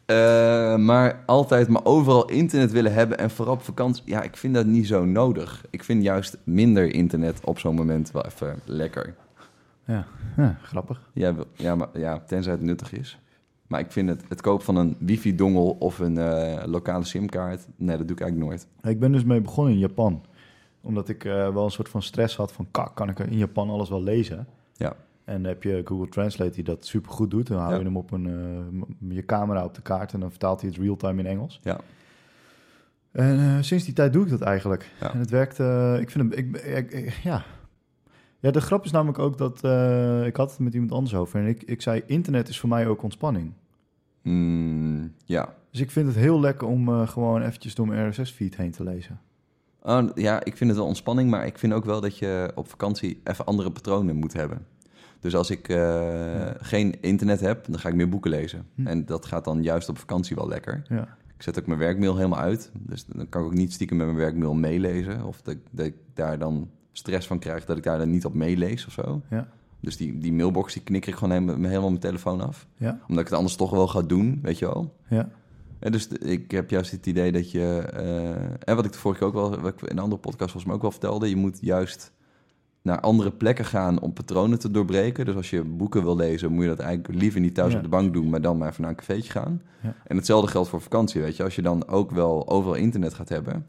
Eh, maar altijd, maar overal internet willen hebben en vooral op vakantie. Ja, ik vind dat niet zo nodig. Ik vind juist minder internet op zo'n moment wel even lekker. Ja, grappig. Ja, wel- ja, maar, ja, tenzij het nuttig is. Maar ik vind het, het kopen van een wifi-dongel of een eh, lokale simkaart... Nee, dat doe ik eigenlijk nooit. Ik ben dus mee begonnen in Japan. Omdat ik eh, wel een soort van stress had van, kak, kan ik in Japan alles wel lezen? Ja. En dan heb je Google Translate die dat super goed doet. Dan hou Ja. je hem op een, eh, m- je camera op de kaart en dan vertaalt hij het real-time in Engels. Ja. Eh, En eh, sinds die tijd doe ik dat eigenlijk. Ja. En het werkt, eh, ik vind het, ik, ik- ik- ja. Ja, de grap is namelijk ook dat, eh, ik had het met iemand anders over en ik, ik zei, internet is voor mij ook ontspanning. Mm, ja. Dus ik vind het heel lekker om eh, gewoon eventjes door mijn RSS-feed heen te lezen. Oh, ja, ik vind het wel ontspanning, maar ik vind ook wel dat je op vakantie even andere patronen moet hebben. Dus als ik eh, geen internet heb, dan ga ik meer boeken lezen. Hm. En dat gaat dan juist op vakantie wel lekker. Ja. Ik zet ook mijn werkmail helemaal uit. Dus dan kan ik ook niet stiekem met mijn werkmail meelezen. Of dat, ik- dat ik daar dan stress van krijg dat ik daar dan niet op meelees of zo. Ja. Dus die, die mailbox die knikker ik gewoon helemaal, helemaal mijn telefoon af. Ja. Omdat ik het anders toch wel ga doen, weet je wel. Ja. En dus de- ik heb juist het idee dat je... eh, en wat ik de vorige keer ook wel... Wat ik in een andere podcast volgens mij ook wel vertelde... je moet juist naar andere plekken gaan om patronen te doorbreken. Dus als je boeken wil lezen, moet je dat eigenlijk liever niet thuis Ja. op de bank doen... maar dan maar even naar een cafeetje gaan. Ja. En hetzelfde geldt voor vakantie, weet je. Als je dan ook wel overal internet gaat hebben...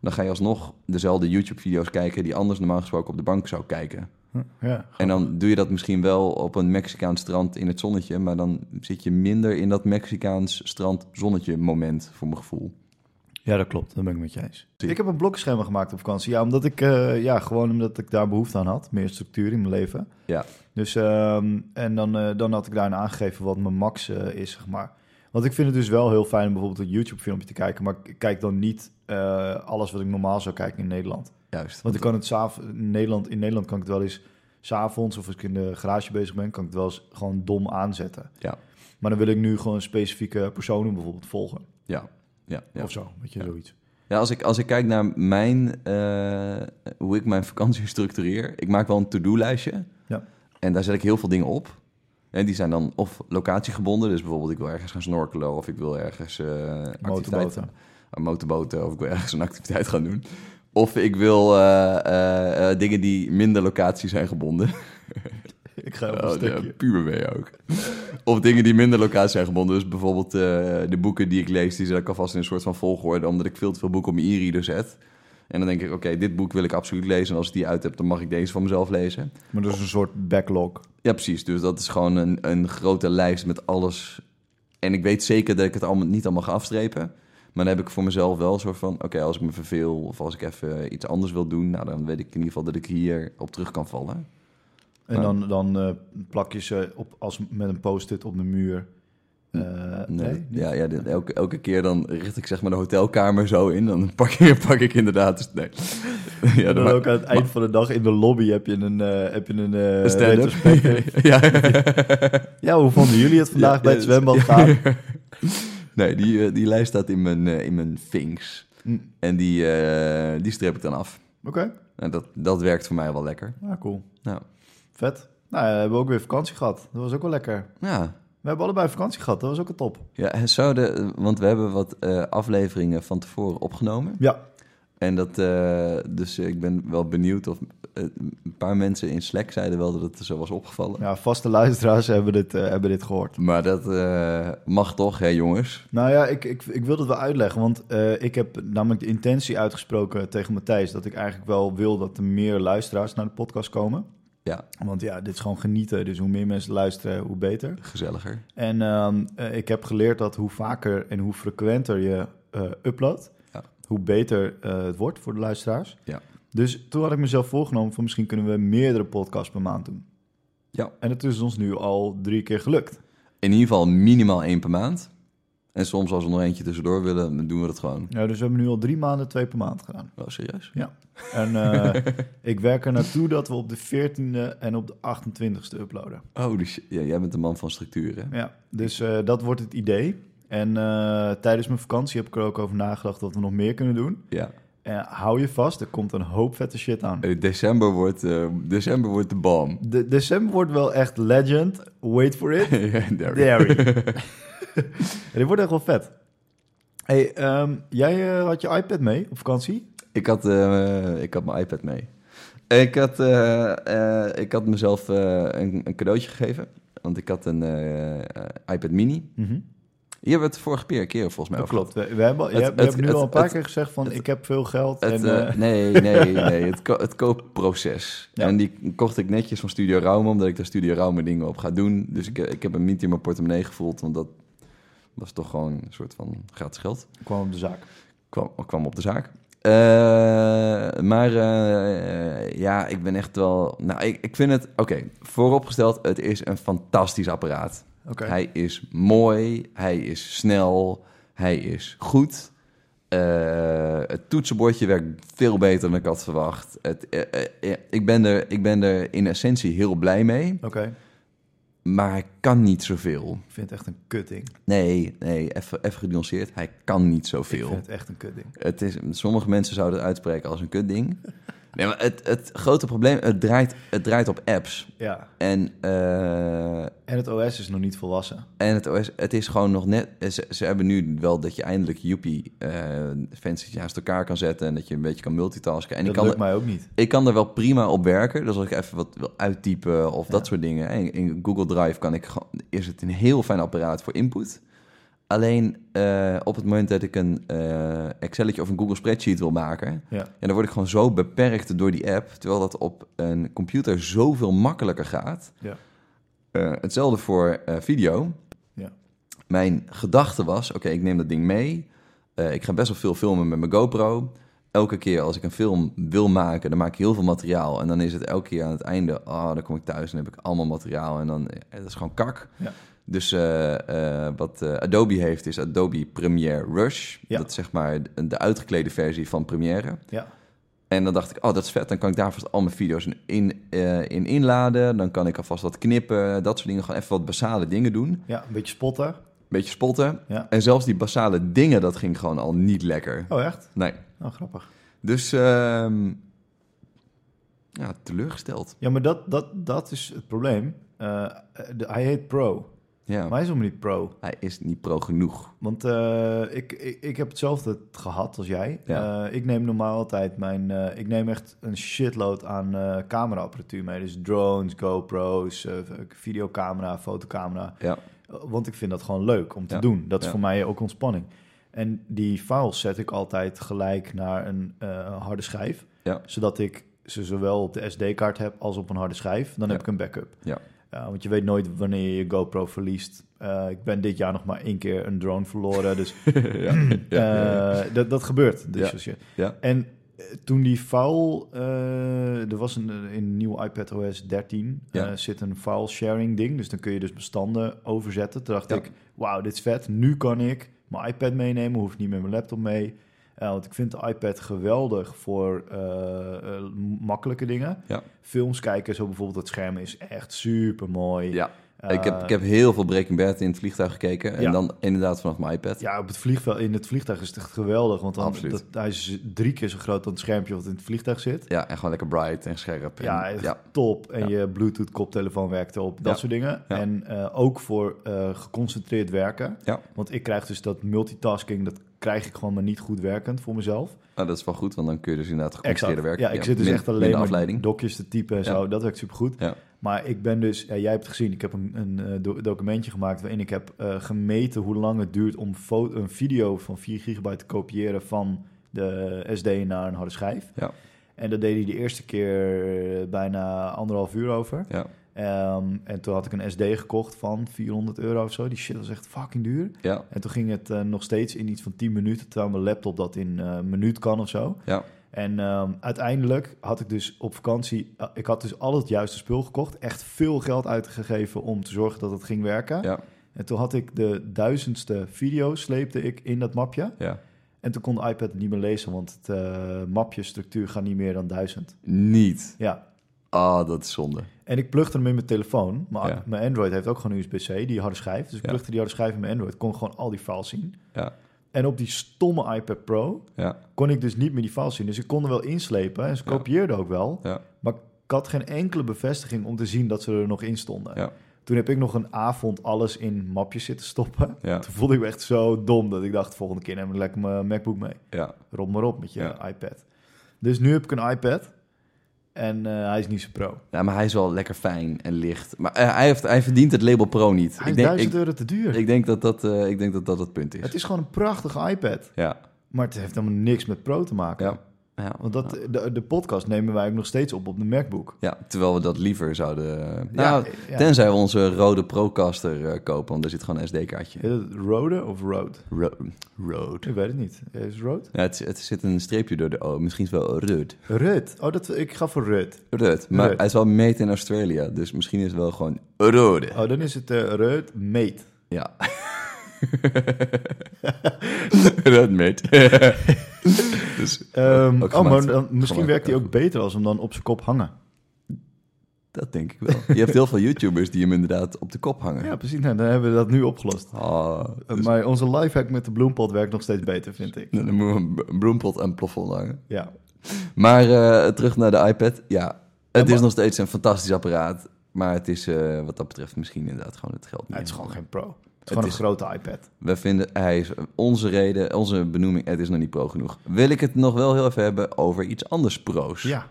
dan ga je alsnog dezelfde YouTube-video's kijken... die anders normaal gesproken op de bank zou kijken. Hm, ja. En dan doe je dat misschien wel op een Mexicaans strand in het zonnetje, maar dan zit je minder in dat Mexicaans strand zonnetje moment voor mijn gevoel. Ja, dat klopt. Dat ben ik met je eens. Ik heb een blokschema gemaakt op vakantie. Ja, omdat ik, eh, ja, gewoon omdat ik daar behoefte aan had. Meer structuur in mijn leven. Ja. Dus, ehm, en dan, eh, dan had ik daarin aangegeven wat mijn max eh, is, zeg maar. Want ik vind het dus wel heel fijn om bijvoorbeeld een YouTube-filmpje te kijken. Maar ik kijk dan niet eh, alles wat ik normaal zou kijken in Nederland. Juist. Want ik kan het s'av- in Nederland, in Nederland kan ik het wel eens s'avonds of als ik in de garage bezig ben, kan ik het wel eens gewoon dom aanzetten. Ja. Maar dan wil ik nu gewoon specifieke personen bijvoorbeeld volgen. Ja, ja, ja. Of zo, weet je, Ja. zoiets. ja als, ik, als ik kijk naar mijn, eh, hoe ik mijn vakantie structureer, ik maak wel een to-do-lijstje. Ja. En daar zet ik heel veel dingen op. En die zijn dan of locatiegebonden, dus bijvoorbeeld ik wil ergens gaan snorkelen of ik wil ergens eh activiteiten Motorboten. aan motorboten eh, of ik wil ergens een activiteit gaan doen. Of ik wil eh, eh, eh, dingen die minder locatie zijn gebonden. Ik ga op een Oh, stukje. ja, puber ben je ook. of dingen die minder locatie zijn gebonden. Dus bijvoorbeeld eh, de boeken die ik lees, die zet ik alvast in een soort van volgorde. Omdat ik veel te veel boeken op mijn e-reader zet. En dan denk ik, oké, dit boek wil ik absoluut lezen. En als ik die uit heb, dan mag ik deze van mezelf lezen. Maar dat is een soort backlog. Ja, precies. Dus dat is gewoon een, een grote lijst met alles. En ik weet zeker dat ik het allemaal, niet allemaal ga afstrepen. Maar dan heb ik voor mezelf wel een soort van... Oké, als ik me verveel of als ik even iets anders wil doen... Nou, dan weet ik in ieder geval dat ik hier op terug kan vallen. En Ja. dan, dan eh, plak je ze op, als met een post-it op de muur. Eh, nee? Nee, niet? ja, ja, dit- elke, elke keer dan richt ik zeg maar de hotelkamer zo in. Dan pak ik, pak ik inderdaad... Dus, nee. ja, En dan maar- ook aan het eind van de dag in de lobby heb je een, eh, heb je een eh, een stand-up. retrospectief. ja. ja, hoe vonden jullie het vandaag Ja, bij het ja, zwembad gaan? Nee, die, eh, die lijst staat in mijn, eh, in mijn Finks. Hm, En die, eh, die streep ik dan af. Oké, En dat, dat werkt voor mij wel lekker. ja, Ah, cool. Ja. Vet. Nou, ja, we hebben ook weer vakantie gehad. Dat was ook wel lekker. Ja, We hebben allebei vakantie gehad. Dat was ook een top. ja en zouden, want we hebben wat eh, afleveringen van tevoren opgenomen. Ja. En dat, eh, dus ik ben wel benieuwd of eh, een paar mensen in Slack zeiden wel dat het zo was opgevallen. ja, vaste luisteraars hebben dit, eh, hebben dit gehoord. Maar dat eh, mag toch, hè jongens? Nou ja, ik, ik, ik wil dat wel uitleggen. Want eh, ik heb namelijk de intentie uitgesproken tegen Matthijs. dat ik eigenlijk wel wil dat er meer luisteraars naar de podcast komen. Ja. Want ja, dit is gewoon genieten. Dus hoe meer mensen luisteren, hoe beter. Gezelliger. En ehm, eh, ik heb geleerd dat hoe vaker en hoe frequenter je eh uploadt. Ja. hoe beter eh, het wordt voor de luisteraars. Ja. Dus toen had ik mezelf voorgenomen van misschien kunnen we meerdere podcasts per maand doen. Ja. En het is ons nu al drie keer gelukt. In ieder geval minimaal één per maand. En soms als we nog eentje tussendoor willen, dan doen we dat gewoon. Ja, dus we hebben nu al drie maanden twee per maand gedaan. Oh, serieus? En eh, ik werk er naartoe dat we op de 14e en op de 28e uploaden. Oh, dus ja, jij bent een man van structuur, hè? Ja, dus eh, dat wordt het idee. En eh, tijdens mijn vakantie heb ik er ook over nagedacht wat we nog meer kunnen doen. Ja. En hou je vast, er komt een hoop vette shit aan. Eh, December wordt, eh, december wordt de bom. De, december wordt wel echt legend. Wait for it. Derry. Derry. Dit wordt echt wel vet. Hey, ehm, jij eh, had je iPad mee op vakantie? Ik had, eh, ik had mijn iPad mee. Ik had, eh, eh, ik had mezelf eh, een, een cadeautje gegeven. Want ik had een eh, eh, iPad mini. Hier hebben we het vorige keer, keer volgens mij Dat over klopt. We, we hebben, al- Nou, Het- je hebt, je het- hebt nu het- al een paar het- keer gezegd van het- ik heb veel geld. Het, en, eh, eh, nee, nee, nee. Het, ko- het koopproces. Ja. En die kocht ik netjes van Studio Raume, omdat ik daar Studio Raume dingen op ga doen. Dus ik, ik heb hem niet in mijn portemonnee gevoeld, want dat was toch gewoon een soort van gratis geld. kwam op de zaak. kwam, kwam op de zaak. Eh, maar eh, ja, ik ben echt wel... Nou, ik, ik vind het... Oké, vooropgesteld, het is een fantastisch apparaat. Oké. Hij is mooi, hij is snel, hij is goed. Eh, het toetsenbordje werkt veel beter dan ik had verwacht. Het, eh, eh, eh, ik, ben er, ik ben er in essentie heel blij mee, Oké, maar hij kan niet zoveel. ik vind het echt een kutding. Nee, nee, even even genuanceerd. Hij kan niet Ik zoveel. vind het echt een kutding. Het is, sommige mensen zouden het uitspreken als een kutding. Nee, maar het, het grote probleem, het draait, het draait op apps. Ja, En, eh, en het OS is nog niet volwassen. en het, OS, het is gewoon nog net... Ze, ze hebben nu wel dat je eindelijk Joepie eh fancy naast elkaar kan zetten... en dat je een beetje kan multitasken. En dat ik kan, lukt er, mij ook niet. ik kan er wel prima op werken. Dus als ik even wat wil uittypen of dat soort dingen... En in Google Drive kan ik gewoon, is het een heel fijn apparaat voor input... Alleen eh, op het moment dat ik een eh Excelletje of een Google Spreadsheet wil maken, Ja, ja, dan word ik gewoon zo beperkt door die app. Terwijl dat op een computer zoveel makkelijker gaat. ja. Eh, hetzelfde voor eh, video. Ja. Mijn gedachte was: oké, ik neem dat ding mee. Eh, ik ga best wel veel filmen met mijn GoPro. Elke keer als ik een film wil maken, dan maak ik heel veel materiaal. En dan is het elke keer aan het einde: oh, dan kom ik thuis en heb ik allemaal materiaal. En dan eh, dat is gewoon kak. Ja. Dus eh, eh, wat eh, Adobe heeft, is Adobe Premiere Rush. Ja. Dat is zeg maar de uitgeklede versie van Premiere. ja. En dan dacht ik, oh, dat is vet. Dan kan ik daar vast al mijn video's in, in, eh, in inladen. Dan kan ik alvast wat knippen, dat soort dingen. Gewoon even wat basale dingen doen. ja een beetje spotten. Beetje spotten. Ja. En zelfs die basale dingen, dat ging gewoon al niet lekker. Oh, echt? Nee. Nou, grappig. Dus, ehm, ja, teleurgesteld. Ja, maar dat, dat, dat is het probleem. Eh, de, hij heet Oh. Pro. Ja. Maar hij is helemaal niet Pro. Hij is niet pro genoeg. Want eh, ik, ik, ik heb hetzelfde gehad als jij. Ja. Eh, ik neem normaal altijd mijn... eh, ik neem echt een shitload aan eh, cameraapparatuur mee. Dus drones, GoPro's, eh, videocamera, fotocamera. Ja. Eh, Want ik vind dat gewoon leuk om te Ja. doen. Dat is Ja. voor mij ook ontspanning. En die files zet ik altijd gelijk naar een eh, harde schijf. Ja. Zodat ik ze zowel op de SD-kaart heb als op een harde schijf. Dan heb Ja. ik een backup. Ja. Eh, want je weet nooit wanneer je je GoPro verliest. Eh, ik ben dit jaar nog maar één keer een drone verloren. Dus ja. ja. eh, dat, dat gebeurt. Dus Ja. als je- Ja. En eh, toen die file, eh, er was een, in een nieuw iPad OS 13 Ja. eh, zit een file sharing ding. Dus dan kun je dus bestanden overzetten. Toen dacht Ja. ik, wauw, dit is vet. Nu kan ik mijn iPad meenemen, hoef niet meer mijn laptop mee. Eh, want ik vind de iPad geweldig voor eh, eh, makkelijke dingen. Ja. Films kijken, zo bijvoorbeeld het scherm is echt super mooi. Ja. Ik, heb, ik heb heel veel Breaking Bad in het vliegtuig gekeken. En eh, Ja. dan inderdaad vanaf mijn iPad. Ja, op het vliegveld, in het vliegtuig is het echt geweldig. Want dan, Absoluut. dat, hij is dus drie keer zo groot dan het schermpje wat in het vliegtuig zit. Ja, en gewoon lekker bright en scherp. En, Ja, echt ja. top. En je Bluetooth koptelefoon werkt op, dat Ja. soort dingen. Ja. En eh, ook voor eh, geconcentreerd werken. Ja. Want ik krijg dus dat multitasking, dat krijg ik gewoon maar niet goed werkend voor mezelf. Nou, dat is wel goed, want dan kun je dus inderdaad geconcentreerd werken. Ja, ik zit dus min- echt alleen minder maar afleiding. dokjes te typen en Ja. zo. Dat werkt supergoed. Ja. Maar ik ben dus, ja, jij hebt gezien, ik heb een, een eh, do- documentje gemaakt waarin ik heb eh, gemeten hoe lang het duurt om fo- een video van 4 gigabyte te kopiëren van de SD naar een harde schijf. Ja. En dat deed hij de eerste keer eh, bijna anderhalf uur over. Ja, Ehm, en toen had ik een SD gekocht van 400 euro of zo. Die shit was echt fucking duur. ja, En toen ging het eh, nog steeds in iets van 10 minuten, terwijl mijn laptop dat in eh, een minuut kan of zo. ja, En ehm, uiteindelijk had ik dus op vakantie, eh, ik had dus al het juiste spul gekocht, echt veel geld uitgegeven om te zorgen dat het ging werken. ja, En toen had ik de duizendste video, sleepte ik in dat mapje. ja. En toen kon de iPad het niet meer lezen, want het eh, mapje structuur gaat niet meer dan duizend. Niet. Ja. Ah, dat is zonde. En ik plugde hem in mijn telefoon. Maar Ja. mijn Android heeft ook gewoon USB-C, die harde schijf. Dus ik Ja. plugde die harde schijf in mijn Android. Kon gewoon al die files zien. Ja, En op die stomme iPad Pro ja, kon ik dus niet meer die files zien. Dus ik kon er wel inslepen en ze Ja. kopieerden ook wel. ja, Maar ik had geen enkele bevestiging om te zien dat ze er nog in stonden. Ja. Toen heb ik nog een avond alles in mapjes zitten stoppen. ja, Toen voelde ik me echt zo dom dat ik dacht, volgende keer neem ik lekker mijn MacBook mee. ja. Rob maar op met je Ja. iPad. Dus nu heb ik een iPad en eh, hij is niet zo pro. Ja, maar hij is wel lekker fijn en licht. Maar eh, hij, heeft, hij verdient het label pro niet. Hij ik, is denk, 1000 ik, euro te duur. ik, denk dat dat, eh, ik denk dat dat het punt is. het is gewoon een prachtige iPad, Ja, maar het heeft helemaal niks met pro te maken. ja. Ja, Want dat, de, de podcast nemen wij ook nog steeds op op de MacBook. ja, terwijl we dat liever zouden... Nou, ja. tenzij we onze rode Procaster eh, kopen, want er zit gewoon een SD-kaartje. Heet het Rode of Road? road. Ik weet het niet. Is het Road? Ja, het, het zit een streepje door de O. Misschien is het wel Rud. Rut. Oh, dat, ik ga voor Rut. Rud. Maar Rud. hij is wel made in Australië, dus misschien is het wel gewoon Rode. Oh, dan is het eh Rut Mate. Ja. Rud, mate. dus, Ehm, ook oh, gemaakt. maar dan, misschien Gemaakt, werkt hij ook ook goed. beter als we hem dan op zijn kop hangen. Dat denk ik wel. Je hebt heel veel YouTubers die hem inderdaad op de kop hangen. Ja, precies. Nou, dan hebben we dat nu opgelost. Ah, Eh, Maar onze lifehack met de bloempot werkt nog steeds beter, vind ik. dan moeten we een b- een bloempot aan het plafond hangen. Ja. Maar eh, terug naar de iPad. Ja, het maar- is nog steeds een fantastisch apparaat. Maar het is eh, wat dat betreft misschien inderdaad gewoon het geld. niet. het is gewoon geen pro. Het is Het gewoon een is- grote iPad. We vinden, hij is onze reden, onze benoeming, het is nog niet pro genoeg. Wil ik het nog wel heel even hebben over iets anders pro's. Ja.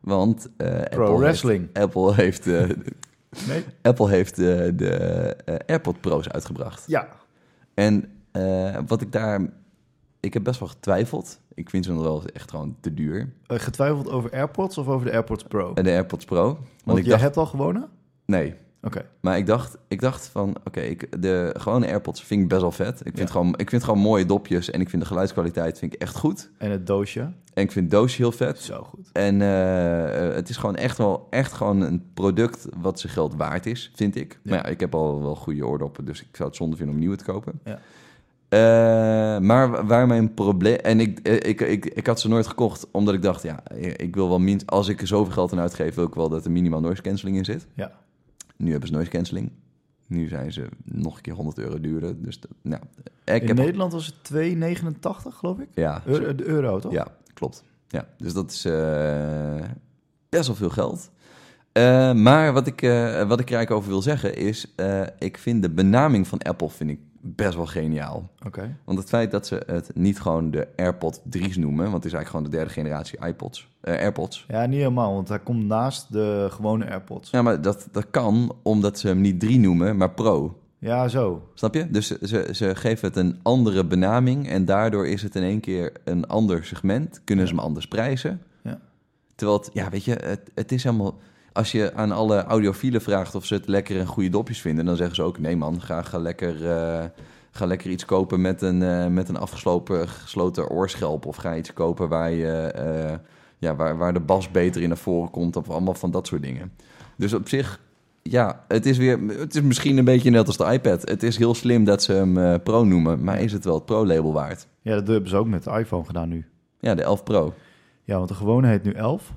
Want eh, Apple, Pro wrestling. Heeft, Apple heeft, eh, Nee? Apple heeft eh, de eh, AirPod Pro's uitgebracht. Ja. En eh, wat ik daar... Ik heb best wel getwijfeld. Ik vind ze nog wel echt gewoon te duur. Eh, getwijfeld over AirPods of over de AirPods Pro? Want, En de AirPods Pro. Want, ik jij dacht... hebt al gewonnen? Nee. Oké. Maar ik dacht, ik dacht van, oké, ik- de gewone AirPods vind ik best wel vet. Ik vind, Ja. gewoon, ik vind gewoon mooie dopjes en ik vind de geluidskwaliteit vind ik echt goed. En het doosje? En ik vind het doosje heel vet. Zo goed. En eh, eh, het is gewoon echt wel echt gewoon een product wat zijn geld waard is, vind ik. Ja. Maar ja, ik heb al wel goede oordoppen, dus ik zou het zonde vinden om nieuwe te kopen. Ja. Eh, maar wa- waar mijn probleem... En ik, eh, ik, ik, ik had ze nooit gekocht, omdat ik dacht... ja, ik wil wel minst... Als ik er zoveel geld aan uitgeef, wil ik wel dat er minimaal noise cancelling in zit. Ja. Nu hebben ze noise cancelling. Nu zijn ze nog een keer 100 euro duurder. Dus dat, nou, ik In heb... Nederland was het 2,89 geloof ik? Ja, Euro, de euro, toch? Ja, klopt. Ja, dus dat is eh, best wel veel geld. Eh, maar wat ik, eh, wat ik er eigenlijk over wil zeggen is... eh, ik vind de benaming van Apple vind ik best wel geniaal. Oké. Want het feit dat ze het niet gewoon de AirPod 3's noemen... want het is eigenlijk gewoon de derde generatie iPods, eh, AirPods... Ja, niet helemaal, want hij komt naast de gewone AirPods. Ja, Ja, maar dat, dat kan omdat ze hem niet 3 noemen, maar Pro. zo. Snap je? Dus ze- ze, ze geven het een andere benaming... en daardoor is het in één keer een ander segment. Kunnen ze hem anders prijzen. Ja. Terwijl, het, ja, weet je, het, het is helemaal... Als je aan alle audiofielen vraagt of ze het lekker en goede dopjes vinden... dan zeggen ze ook, nee man, ga, ga, lekker, eh, ga lekker iets kopen met een, eh, met een afgesloten gesloten oorschelp... of ga iets kopen waar, je, eh, ja, waar, waar de bas beter in naar voren komt... of allemaal van dat soort dingen. Dus op zich, ja, het is, weer, het is misschien een beetje net als de iPad. Het is heel slim dat ze hem eh, Pro noemen, maar is het wel het Pro-label waard? Ja, dat hebben ze ook met de iPhone gedaan nu. Ja, de 11 Pro. Ja, want de gewone heet nu 11.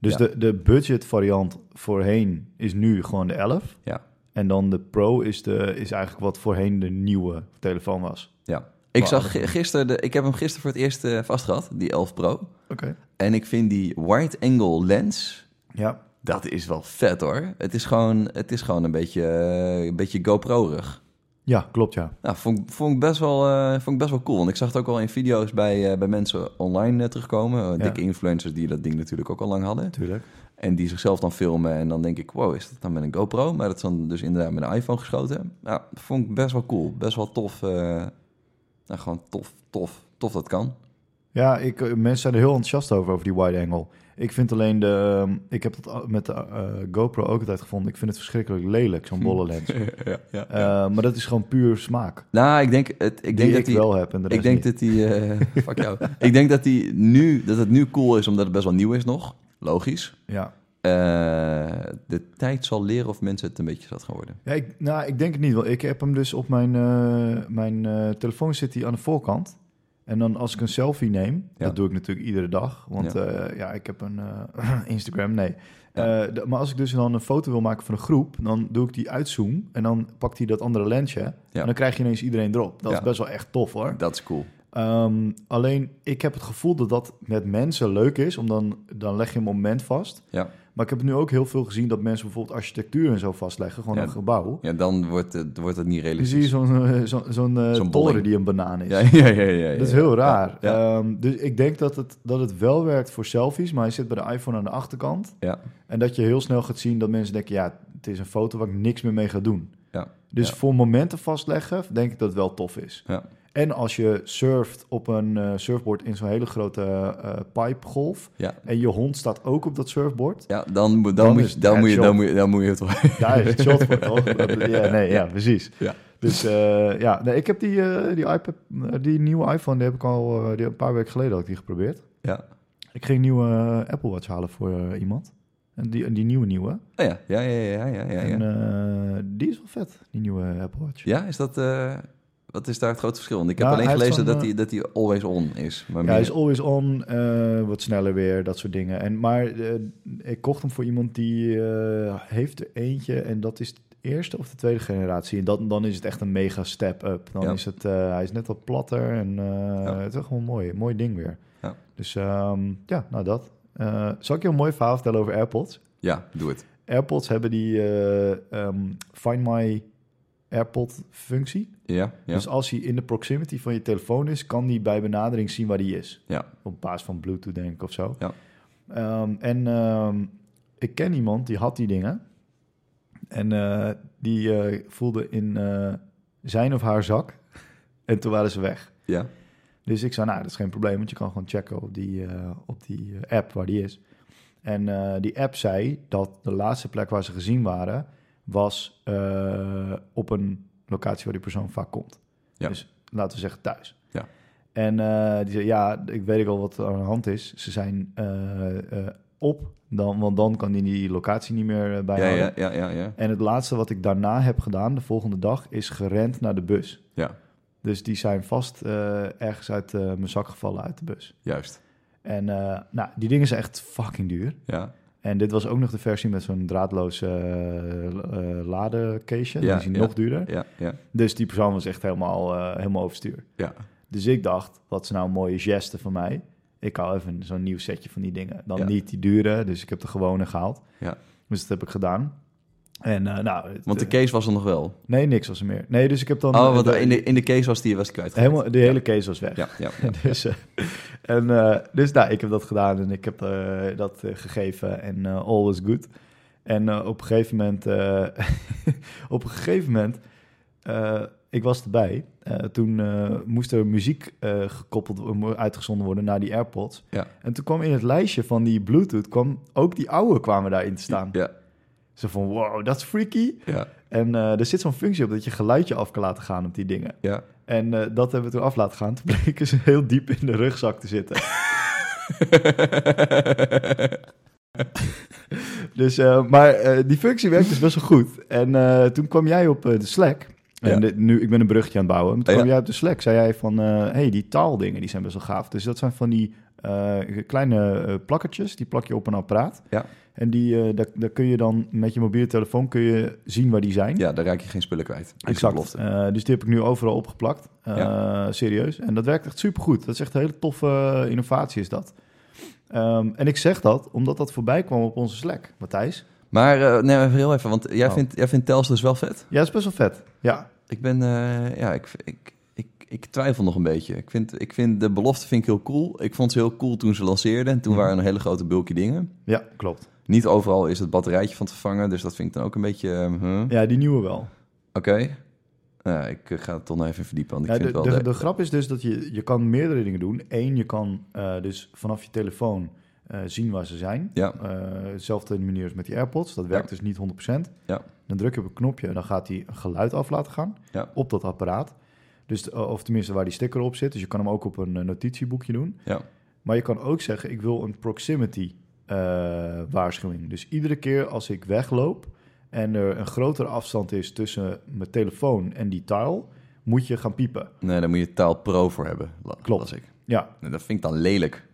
Dus Ja. de, de budget variant voorheen is nu gewoon de 11. Ja. En dan de Pro is, de, is eigenlijk wat voorheen de nieuwe telefoon was. Ja. Ik Maar zag gi- gisteren, de, ik heb hem gisteren voor het eerst eh, vastgehad, die 11 Pro. Oké. En ik vind die wide angle lens, Ja. dat is wel vet hoor. Het is gewoon, het is gewoon een beetje, eh, een beetje GoPro-rig. ja, klopt ja. Nou, vond, ik- vond, ik best wel, eh, vond ik best wel cool. Want ik zag het ook al in video's bij, eh, bij mensen online eh, terugkomen. Eh, Ja. Dikke influencers die dat ding natuurlijk ook al lang hadden. Natuurlijk. En die zichzelf dan filmen. En dan denk ik, wow, is dat dan met een GoPro? Maar dat is dan dus inderdaad met een iPhone geschoten. Ja, vond ik best wel cool. Best wel tof. eh, nou, gewoon tof, tof, tof dat kan. Ja, ik, eh, mensen zijn er heel enthousiast over, over die wide angle. Ik vind alleen de... ehm, ik heb dat al- met de eh, GoPro ook altijd gevonden. Ik vind het verschrikkelijk lelijk, zo'n bolle lens. ja, Hm. ja. Eh, maar dat is gewoon puur smaak. Nou, ik denk, het, ik Ik denk die dat ik die, wel heb en de rest ik denk niet. dat die, eh, fuck jou. Ik denk dat die nu, dat het nu cool is omdat het best wel nieuw is nog. Logisch. Ja. Eh, de tijd zal leren of mensen het een beetje zat gaan worden. Ja, ik, nou, ik denk het niet. Want ik heb hem dus op mijn, eh, mijn eh, telefoon zit hij aan de voorkant. En dan als ik een selfie neem, Ja. dat doe ik natuurlijk iedere dag. Want Ja. ja, ja ik heb een eh, Instagram, nee. Ja. Eh, de- maar als ik dus dan een foto wil maken van een groep, dan doe ik die uitzoom. En dan pakt hij dat andere lensje. En dan krijg je ineens iedereen erop. Dat Ja. is best wel echt tof hoor. Dat is cool. Ehm, alleen ik heb het gevoel dat dat met mensen leuk is, om dan, dan leg je een moment vast. Ja. Maar ik heb nu ook heel veel gezien dat mensen bijvoorbeeld architectuur en zo vastleggen, gewoon Ja. een gebouw. Ja, dan wordt het, wordt het niet Dan zie je realistisch. zo'n eh, zo, zo'n eh, Zo'n bolling. toren die een banaan is. Ja, ja, ja, ja, ja. dat is heel raar. Ja, ja. Ehm, dus ik denk dat het, dat het wel werkt voor selfies, maar hij zit bij de iPhone aan de achterkant. Ja. En dat je heel snel gaat zien dat mensen denken, ja, het is een foto waar ik niks meer mee ga doen. Ja. Dus Ja. voor momenten vastleggen, denk ik dat het wel tof is. Ja. En als je surft op een eh, surfboard in zo'n hele grote eh pipegolf. Ja. En je hond staat ook op dat surfboard. Ja, dan, moet- dan, Dan moet is je, het dan, moet je, headshot. dan, moet je, dan moet je het wel. Daar is het shot voor, toch? Ja, nee, ja, precies. Ja. Dus eh, ja, nee, ik heb die, eh, die, iPad, eh, die nieuwe iPhone, die heb ik al eh, die een paar weken geleden had ik die geprobeerd. Ja. Ik ging een nieuwe eh, Apple Watch halen voor eh, iemand. En die, en die nieuwe nieuwe. Oh ja, ja, ja, ja, ja, ja. En Ja, eh, die is wel vet, die nieuwe Apple Watch. ja is dat... eh, wat is daar het grote verschil? Want ik heb Nou, alleen hij heeft gelezen zo'n, dat die, dat die always on is. Maar Ja, meer- hij is always on, eh, wat sneller weer, dat soort dingen. En, maar eh, ik kocht hem voor iemand die eh, heeft er eentje en dat is de eerste of de tweede generatie. En dat, dan is het echt een mega step up. Dan Ja. is het, eh, hij is net wat platter en eh, het is echt gewoon mooi, mooi ding weer. Ja. Dus ehm, ja, nou dat. Eh, zal ik je een mooi verhaal vertellen over AirPods? ja, doe het. AirPods hebben die eh, ehm, Find My AirPod functie. Ja, ja, Dus als hij in de proximity van je telefoon is, kan die bij benadering zien waar die is ja. op basis van Bluetooth, denk ik, of zo. Ja. Ehm, en ehm, ik ken iemand die had die dingen. En eh, die eh, voelde in eh, zijn of haar zak. En toen waren ze weg. ja. Dus ik zei, nou, dat is geen probleem, want je kan gewoon checken op die, eh, op die eh, app waar die is. En eh, die app zei dat de laatste plek waar ze gezien waren, was eh, op een locatie waar die persoon vaak komt. Ja. Dus laten we zeggen thuis. Ja. En eh, die zei, ja, ik weet ook al wat er aan de hand is. Ze zijn eh, eh, op, dan, want dan kan die die locatie niet meer eh, Ja, bijhouden. ja, ja, ja, ja. En het laatste wat ik daarna heb gedaan, de volgende dag, is gerend naar de bus. Ja. Dus die zijn vast eh, ergens uit eh, mijn zak gevallen uit de bus. Juist. En eh, nou, die dingen zijn echt fucking duur. Ja, En dit was ook nog de versie met zo'n draadloos eh eh ladencaseje. Ja, die is ja. nog duurder. ja, ja, Dus die persoon was echt helemaal, eh, helemaal overstuur. ja. Dus ik dacht, wat is nou een mooie geste van mij? Ik hou even zo'n nieuw setje van die dingen. Dan Ja. niet die dure, dus ik heb de gewone gehaald. Ja. Dus dat heb ik gedaan. En eh, nou... het, Want de eh, case was er nog wel. Nee, niks was er meer. Nee, dus ik heb dan... Oh, want de- in de, in de case was die was die kwijt. Helemaal, de hele case was weg. Ja, ja. dus, eh, en, eh, dus nou, ik heb dat gedaan en ik heb eh, dat eh, gegeven en eh, all was good. En eh, op een gegeven moment, eh, op een gegeven moment, eh, ik was erbij. Eh, toen eh, moest er muziek eh, gekoppeld, wo- uitgezonden worden naar die AirPods. Ja. En toen kwam in het lijstje van die Bluetooth, kwam, ook die oude kwamen daarin te staan. Ja, Ze van, wow, dat is freaky. ja, En eh, er zit zo'n functie op dat je geluidje af kan laten gaan op die dingen. ja. En eh, dat hebben we toen af laten gaan. Toen bleken ze heel diep in de rugzak te zitten. dus, eh, maar eh, die functie werkt dus best wel goed. En eh, toen kwam jij op eh, de Slack. En Ja. dit- nu, ik ben een bruggetje aan het bouwen. Maar toen Ja. kwam jij op de Slack. Zei jij van, hé, hey, die taaldingen die zijn best wel gaaf. Dus dat zijn van die eh, kleine eh, plakkertjes. Die plak je op een apparaat. Ja. En die, eh, daar, daar kun je dan met je mobiele telefoon kun je zien waar die zijn. ja, daar raak je geen spullen kwijt. Is de Exact. belofte. Eh, dus die heb ik nu overal opgeplakt. Eh, Serieus. En dat werkt echt supergoed. Dat is echt een hele toffe eh, innovatie is dat. Ehm, en ik zeg dat omdat dat voorbij kwam op onze Slack, Matthijs. Maar eh, nee, even heel even, want jij, Oh. vindt, jij vindt Telstra dus wel vet. Ja, dat is best wel vet. Ja, Ik ben, eh, ja, ik, ik, ik, ik twijfel nog een beetje. Ik vind, ik vind de belofte vind ik heel cool. Ik vond ze heel cool toen ze lanceerden. En toen Mhm. waren er hele grote bulky dingen. ja klopt. Niet overal is het batterijtje van te vervangen, dus dat vind ik dan ook een beetje... eh, huh. Ja, die nieuwe wel. Oké. Nou, ik eh, ga het toch nog even verdiepen, want ik Ja, vind de, het de, wel... de grap is dus dat je, je kan meerdere dingen doen. Eén, je kan eh, dus vanaf je telefoon eh, zien waar ze zijn. Ja. Eh, hetzelfde manier als met die AirPods. Dat werkt dus niet 100%. Ja. Dan druk je op een knopje en dan gaat hij een geluid af laten gaan Ja. op dat apparaat. Dus, de- of tenminste waar die sticker op zit. Dus je kan hem ook op een eh, notitieboekje doen. Ja. Maar je kan ook zeggen, ik wil een proximity eh, waarschuwing. Dus iedere keer als ik wegloop en er een grotere afstand is tussen mijn telefoon en die tile, moet je gaan piepen. Nee, daar moet je taal pro voor hebben. la- Klopt. las ik. Ja. Nou, dat vind ik dan lelijk.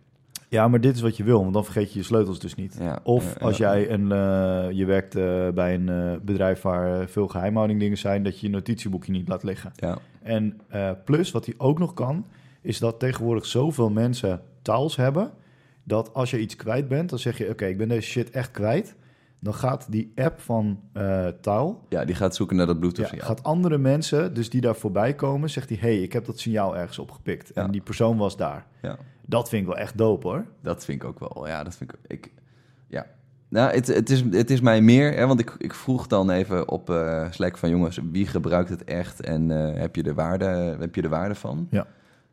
ja, maar dit is wat je wil, want dan vergeet je je sleutels dus niet. Ja, Of eh, als ja. jij een, eh, je werkt eh, bij een eh, bedrijf waar eh, veel geheimhouding dingen zijn, dat je je notitieboekje niet laat liggen. Ja, En eh, plus, wat hij ook nog kan, is dat tegenwoordig zoveel mensen taals hebben, dat als je iets kwijt bent, dan zeg je, oké, ik ben deze shit echt kwijt. Dan gaat die app van eh taal, ja, die gaat zoeken naar dat bluetooth ja, signaal. gaat andere mensen, dus die daar voorbij komen, zegt hij, hey, ik heb dat signaal ergens opgepikt. Ja. En die persoon was daar. Ja. Dat vind ik wel echt dope hoor. Dat vind ik ook wel. Ja, dat vind ik. ik ja. Nou, het, het, is, het is mij meer, hè, want ik, ik vroeg dan even op eh Slack van jongens, wie gebruikt het echt en eh, heb, je de waarde, heb je de waarde van? Ja.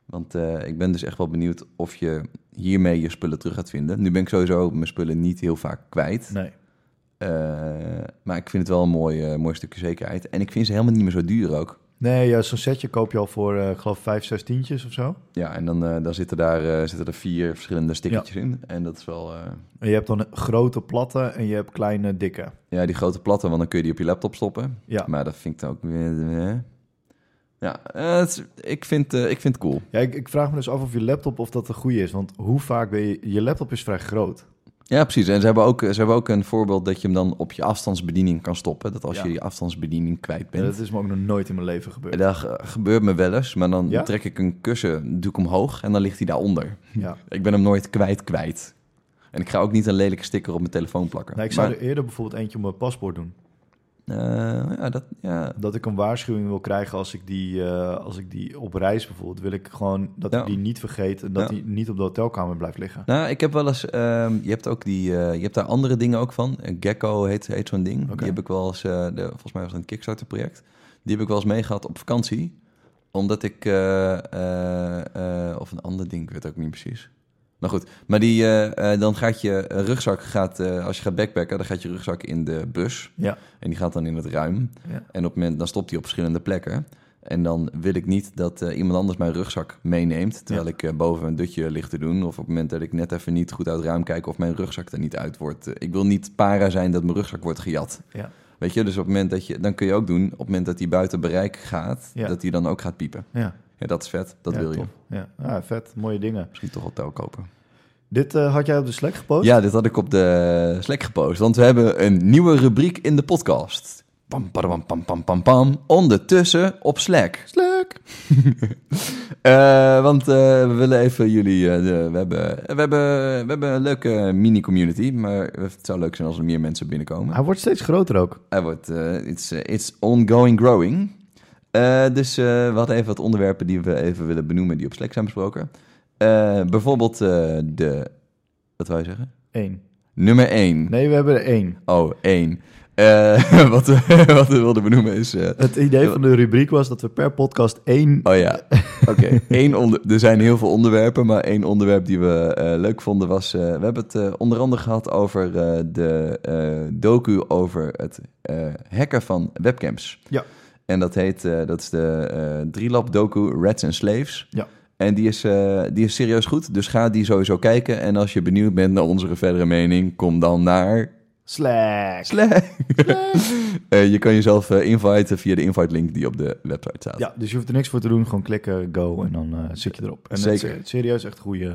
Want eh, ik ben dus echt wel benieuwd of je hiermee je spullen terug gaat vinden. Nu ben ik sowieso mijn spullen niet heel vaak kwijt. Nee. Eh, maar ik vind het wel een mooi, eh, mooi stukje zekerheid. En ik vind ze helemaal niet meer zo duur ook. Nee, ja, zo'n setje koop je al voor, eh, ik geloof, vijf, zes tientjes of zo. Ja, en dan, eh, dan zitten, daar, eh, zitten er vier verschillende stickertjes in. En dat is wel... eh, En je hebt dan grote platte en je hebt kleine dikke. Ja, die grote platte, want dan kun je die op je laptop stoppen. Ja. Maar dat vind ik dan ook weer... hè? Ja, eh, het is- ik, vind, eh, ik vind het cool. Ja, ik, ik vraag me dus af of je laptop of dat de goede is. Want hoe vaak ben je... Je laptop is vrij groot. Ja, precies. En ze hebben, ook, ze hebben ook een voorbeeld dat je hem dan op je afstandsbediening kan stoppen. Dat als Ja. je die afstandsbediening kwijt En dat bent. is me ook nog nooit in mijn leven gebeurd. Dat, gebeurt me wel eens, maar dan Ja? trek ik een kussen, doe ik hem hoog en dan ligt hij daaronder. Ja. Ik ben hem nooit kwijt kwijt. En ik ga ook niet een lelijke sticker op mijn telefoon plakken. Nee, ik zou Maar, er eerder bijvoorbeeld eentje op mijn paspoort doen. eh, ja, dat, ja. Dat ik een waarschuwing wil krijgen als ik die, eh, als ik die op reis bijvoorbeeld... wil ik gewoon dat Ja. ik die niet vergeet en dat Ja. die niet op de hotelkamer blijft liggen. Nou, ik heb wel eens. ehm, je hebt ook die. eh, je hebt daar andere dingen ook van. Een Gecko heet, heet zo'n ding. Oké. Die heb ik wel eens. eh, de, volgens mij was het een Kickstarter-project. Die heb ik wel eens meegehad op vakantie. Omdat ik. eh, eh, eh, of een ander ding, ik weet het ook niet precies. Nou goed, maar die, eh, eh, dan gaat je rugzak, gaat, eh, als je gaat backpacken, dan gaat je rugzak in de bus. Ja. En die gaat dan in het ruim. Ja. En op het moment, dan stopt hij op verschillende plekken. En dan wil ik niet dat eh, iemand anders mijn rugzak meeneemt. Terwijl ik eh, boven een dutje lig te doen. Of op het moment dat ik net even niet goed uit het raam kijk of mijn rugzak er niet uit wordt. Eh, ik wil niet para zijn dat mijn rugzak wordt gejat. Ja. Weet je, dus op het moment dat je. Dan kun je ook doen. Op het moment dat hij buiten bereik gaat, Ja. dat hij dan ook gaat piepen. Ja, Ja, dat is vet. Dat Ja, wil je. tof. ja. Ah, vet. Mooie dingen. Misschien toch wel tel kopen. Dit eh, had jij op de Slack gepost? Ja, dit had ik op de Slack gepost. Want we hebben een nieuwe rubriek in de podcast. Pam, padam, pam, pam, pam, pam. Ondertussen op Slack. Slack! Eh, want eh, we willen even jullie. eh, de- we, hebben, we, hebben, we hebben een leuke mini-community. Maar het zou leuk zijn als er meer mensen binnenkomen. Hij wordt steeds groter ook. Hij wordt. eh, it's, eh, it's ongoing growing. Eh, dus eh, we hadden even wat onderwerpen die we even willen benoemen. die op Slack zijn besproken. Eh, bijvoorbeeld eh, de. Wat wou je zeggen? Eén. Nummer 1. Nee, we hebben er één. Oh, één. Eh, wat, we, wat we wilden benoemen is... eh, Het idee van de rubriek was dat we per podcast één... oh ja, oké. Eén onder- er zijn heel veel onderwerpen, maar één onderwerp die we eh, leuk vonden was... eh, we hebben het eh, onder andere gehad over eh, de eh, docu over het eh, hacken van webcams. Ja. En dat heet, eh, dat is de eh Drielab docu Rats and Slaves. Ja. En die is, eh, die is serieus goed, dus ga die sowieso kijken. En als je benieuwd bent naar onze verdere mening, kom dan naar... Slack! Slack. Eh, je kan jezelf eh, inviten via de invite link die op de website staat. Ja, dus je hoeft er niks voor te doen. Gewoon klikken, go en dan eh, zit je erop. En Zeker. Het is serieus echt goede,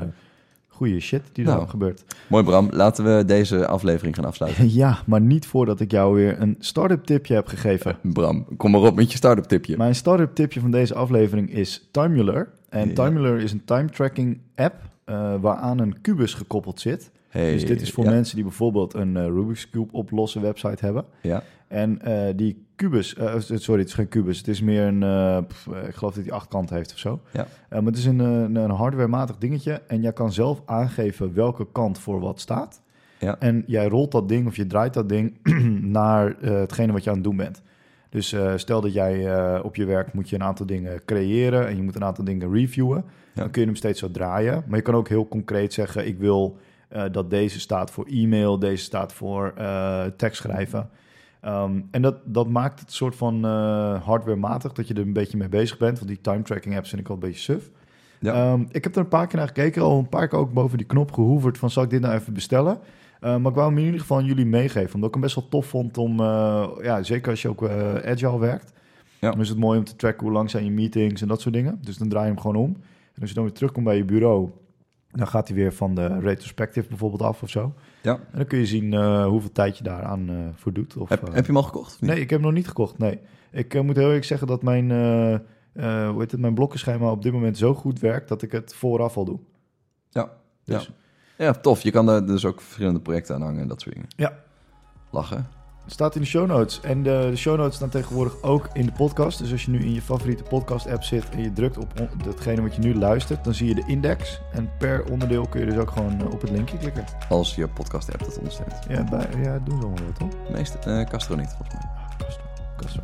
goede shit die Nou. erop gebeurt. Mooi Bram, laten we deze aflevering gaan afsluiten. Ja, maar niet voordat ik jou weer een start-up tipje heb gegeven. Bram, kom maar op met je start-up tipje. Mijn start-up tipje van deze aflevering is Timular. En Ja. Timular is een time tracking app eh, waaraan een kubus gekoppeld zit. Hey, dus dit is voor ja, mensen die bijvoorbeeld een eh, Rubik's Cube oplossen website hebben. Ja. En eh, die kubus, eh, eh, sorry, het is geen kubus. Het is meer een, eh, pff, eh, ik geloof dat die acht kanten heeft of zo. Ja. Eh, maar het is een, eh, een, een hardwarematig dingetje. En jij kan zelf aangeven welke kant voor wat staat. Ja. En jij rolt dat ding of je draait dat ding naar eh, hetgene wat je aan het doen bent. Dus eh, stel dat jij eh, op je werk moet je een aantal dingen creëren en je moet een aantal dingen reviewen. Ja. Dan kun je hem steeds zo draaien. Maar je kan ook heel concreet zeggen, ik wil eh, dat deze staat voor e-mail, deze staat voor eh, tekst schrijven. Ehm, en dat, dat maakt het soort van eh hardwarematig dat je er een beetje mee bezig bent. Want die time tracking apps vind ik al een beetje suf. Ja. Ehm, ik heb er een paar keer naar gekeken, al een paar keer ook boven die knop gehoeverd van zal ik dit nou even bestellen. Eh, maar ik wou hem in ieder geval aan jullie meegeven, omdat ik hem best wel tof vond om, eh, ja, zeker als je ook eh, agile werkt. Ja. Dan is het mooi om te tracken hoe lang zijn je meetings en dat soort dingen. Dus dan draai je hem gewoon om. En als je dan weer terugkomt bij je bureau, dan gaat hij weer van de retrospective bijvoorbeeld af of zo. Ja. En dan kun je zien eh, hoeveel tijd je daaraan eh voor doet. Of, Heb, eh, heb je hem al gekocht? of niet? Nee, ik heb hem nog niet gekocht. Nee. Ik eh, moet heel eerlijk zeggen dat mijn, eh eh hoe heet het, mijn blokkenschema op dit moment zo goed werkt dat ik het vooraf al doe. Ja. Dus, Ja, tof. Je kan daar dus ook verschillende projecten aan hangen en dat soort dingen. Ja. Lachen. Staat in de show notes. En de, de show notes staan tegenwoordig ook in de podcast. Dus als je nu in je favoriete podcast-app zit en je drukt op on- datgene wat je nu luistert, dan zie je de index. En per onderdeel kun je dus ook gewoon eh, op het linkje klikken. Als je podcast app dat ondersteunt. Ja, bij, ja doen ze allemaal wat, toch? De meeste, eh, Castro niet, volgens mij. Castro. Castro.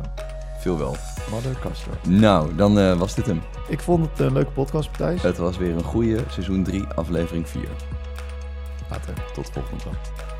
Veel wel. Mother Castro. Nou, dan eh, was dit hem. Ik vond het een leuke podcast, Thijs. Het was weer een goede seizoen 3, aflevering 4. Later. Tot volgende keer.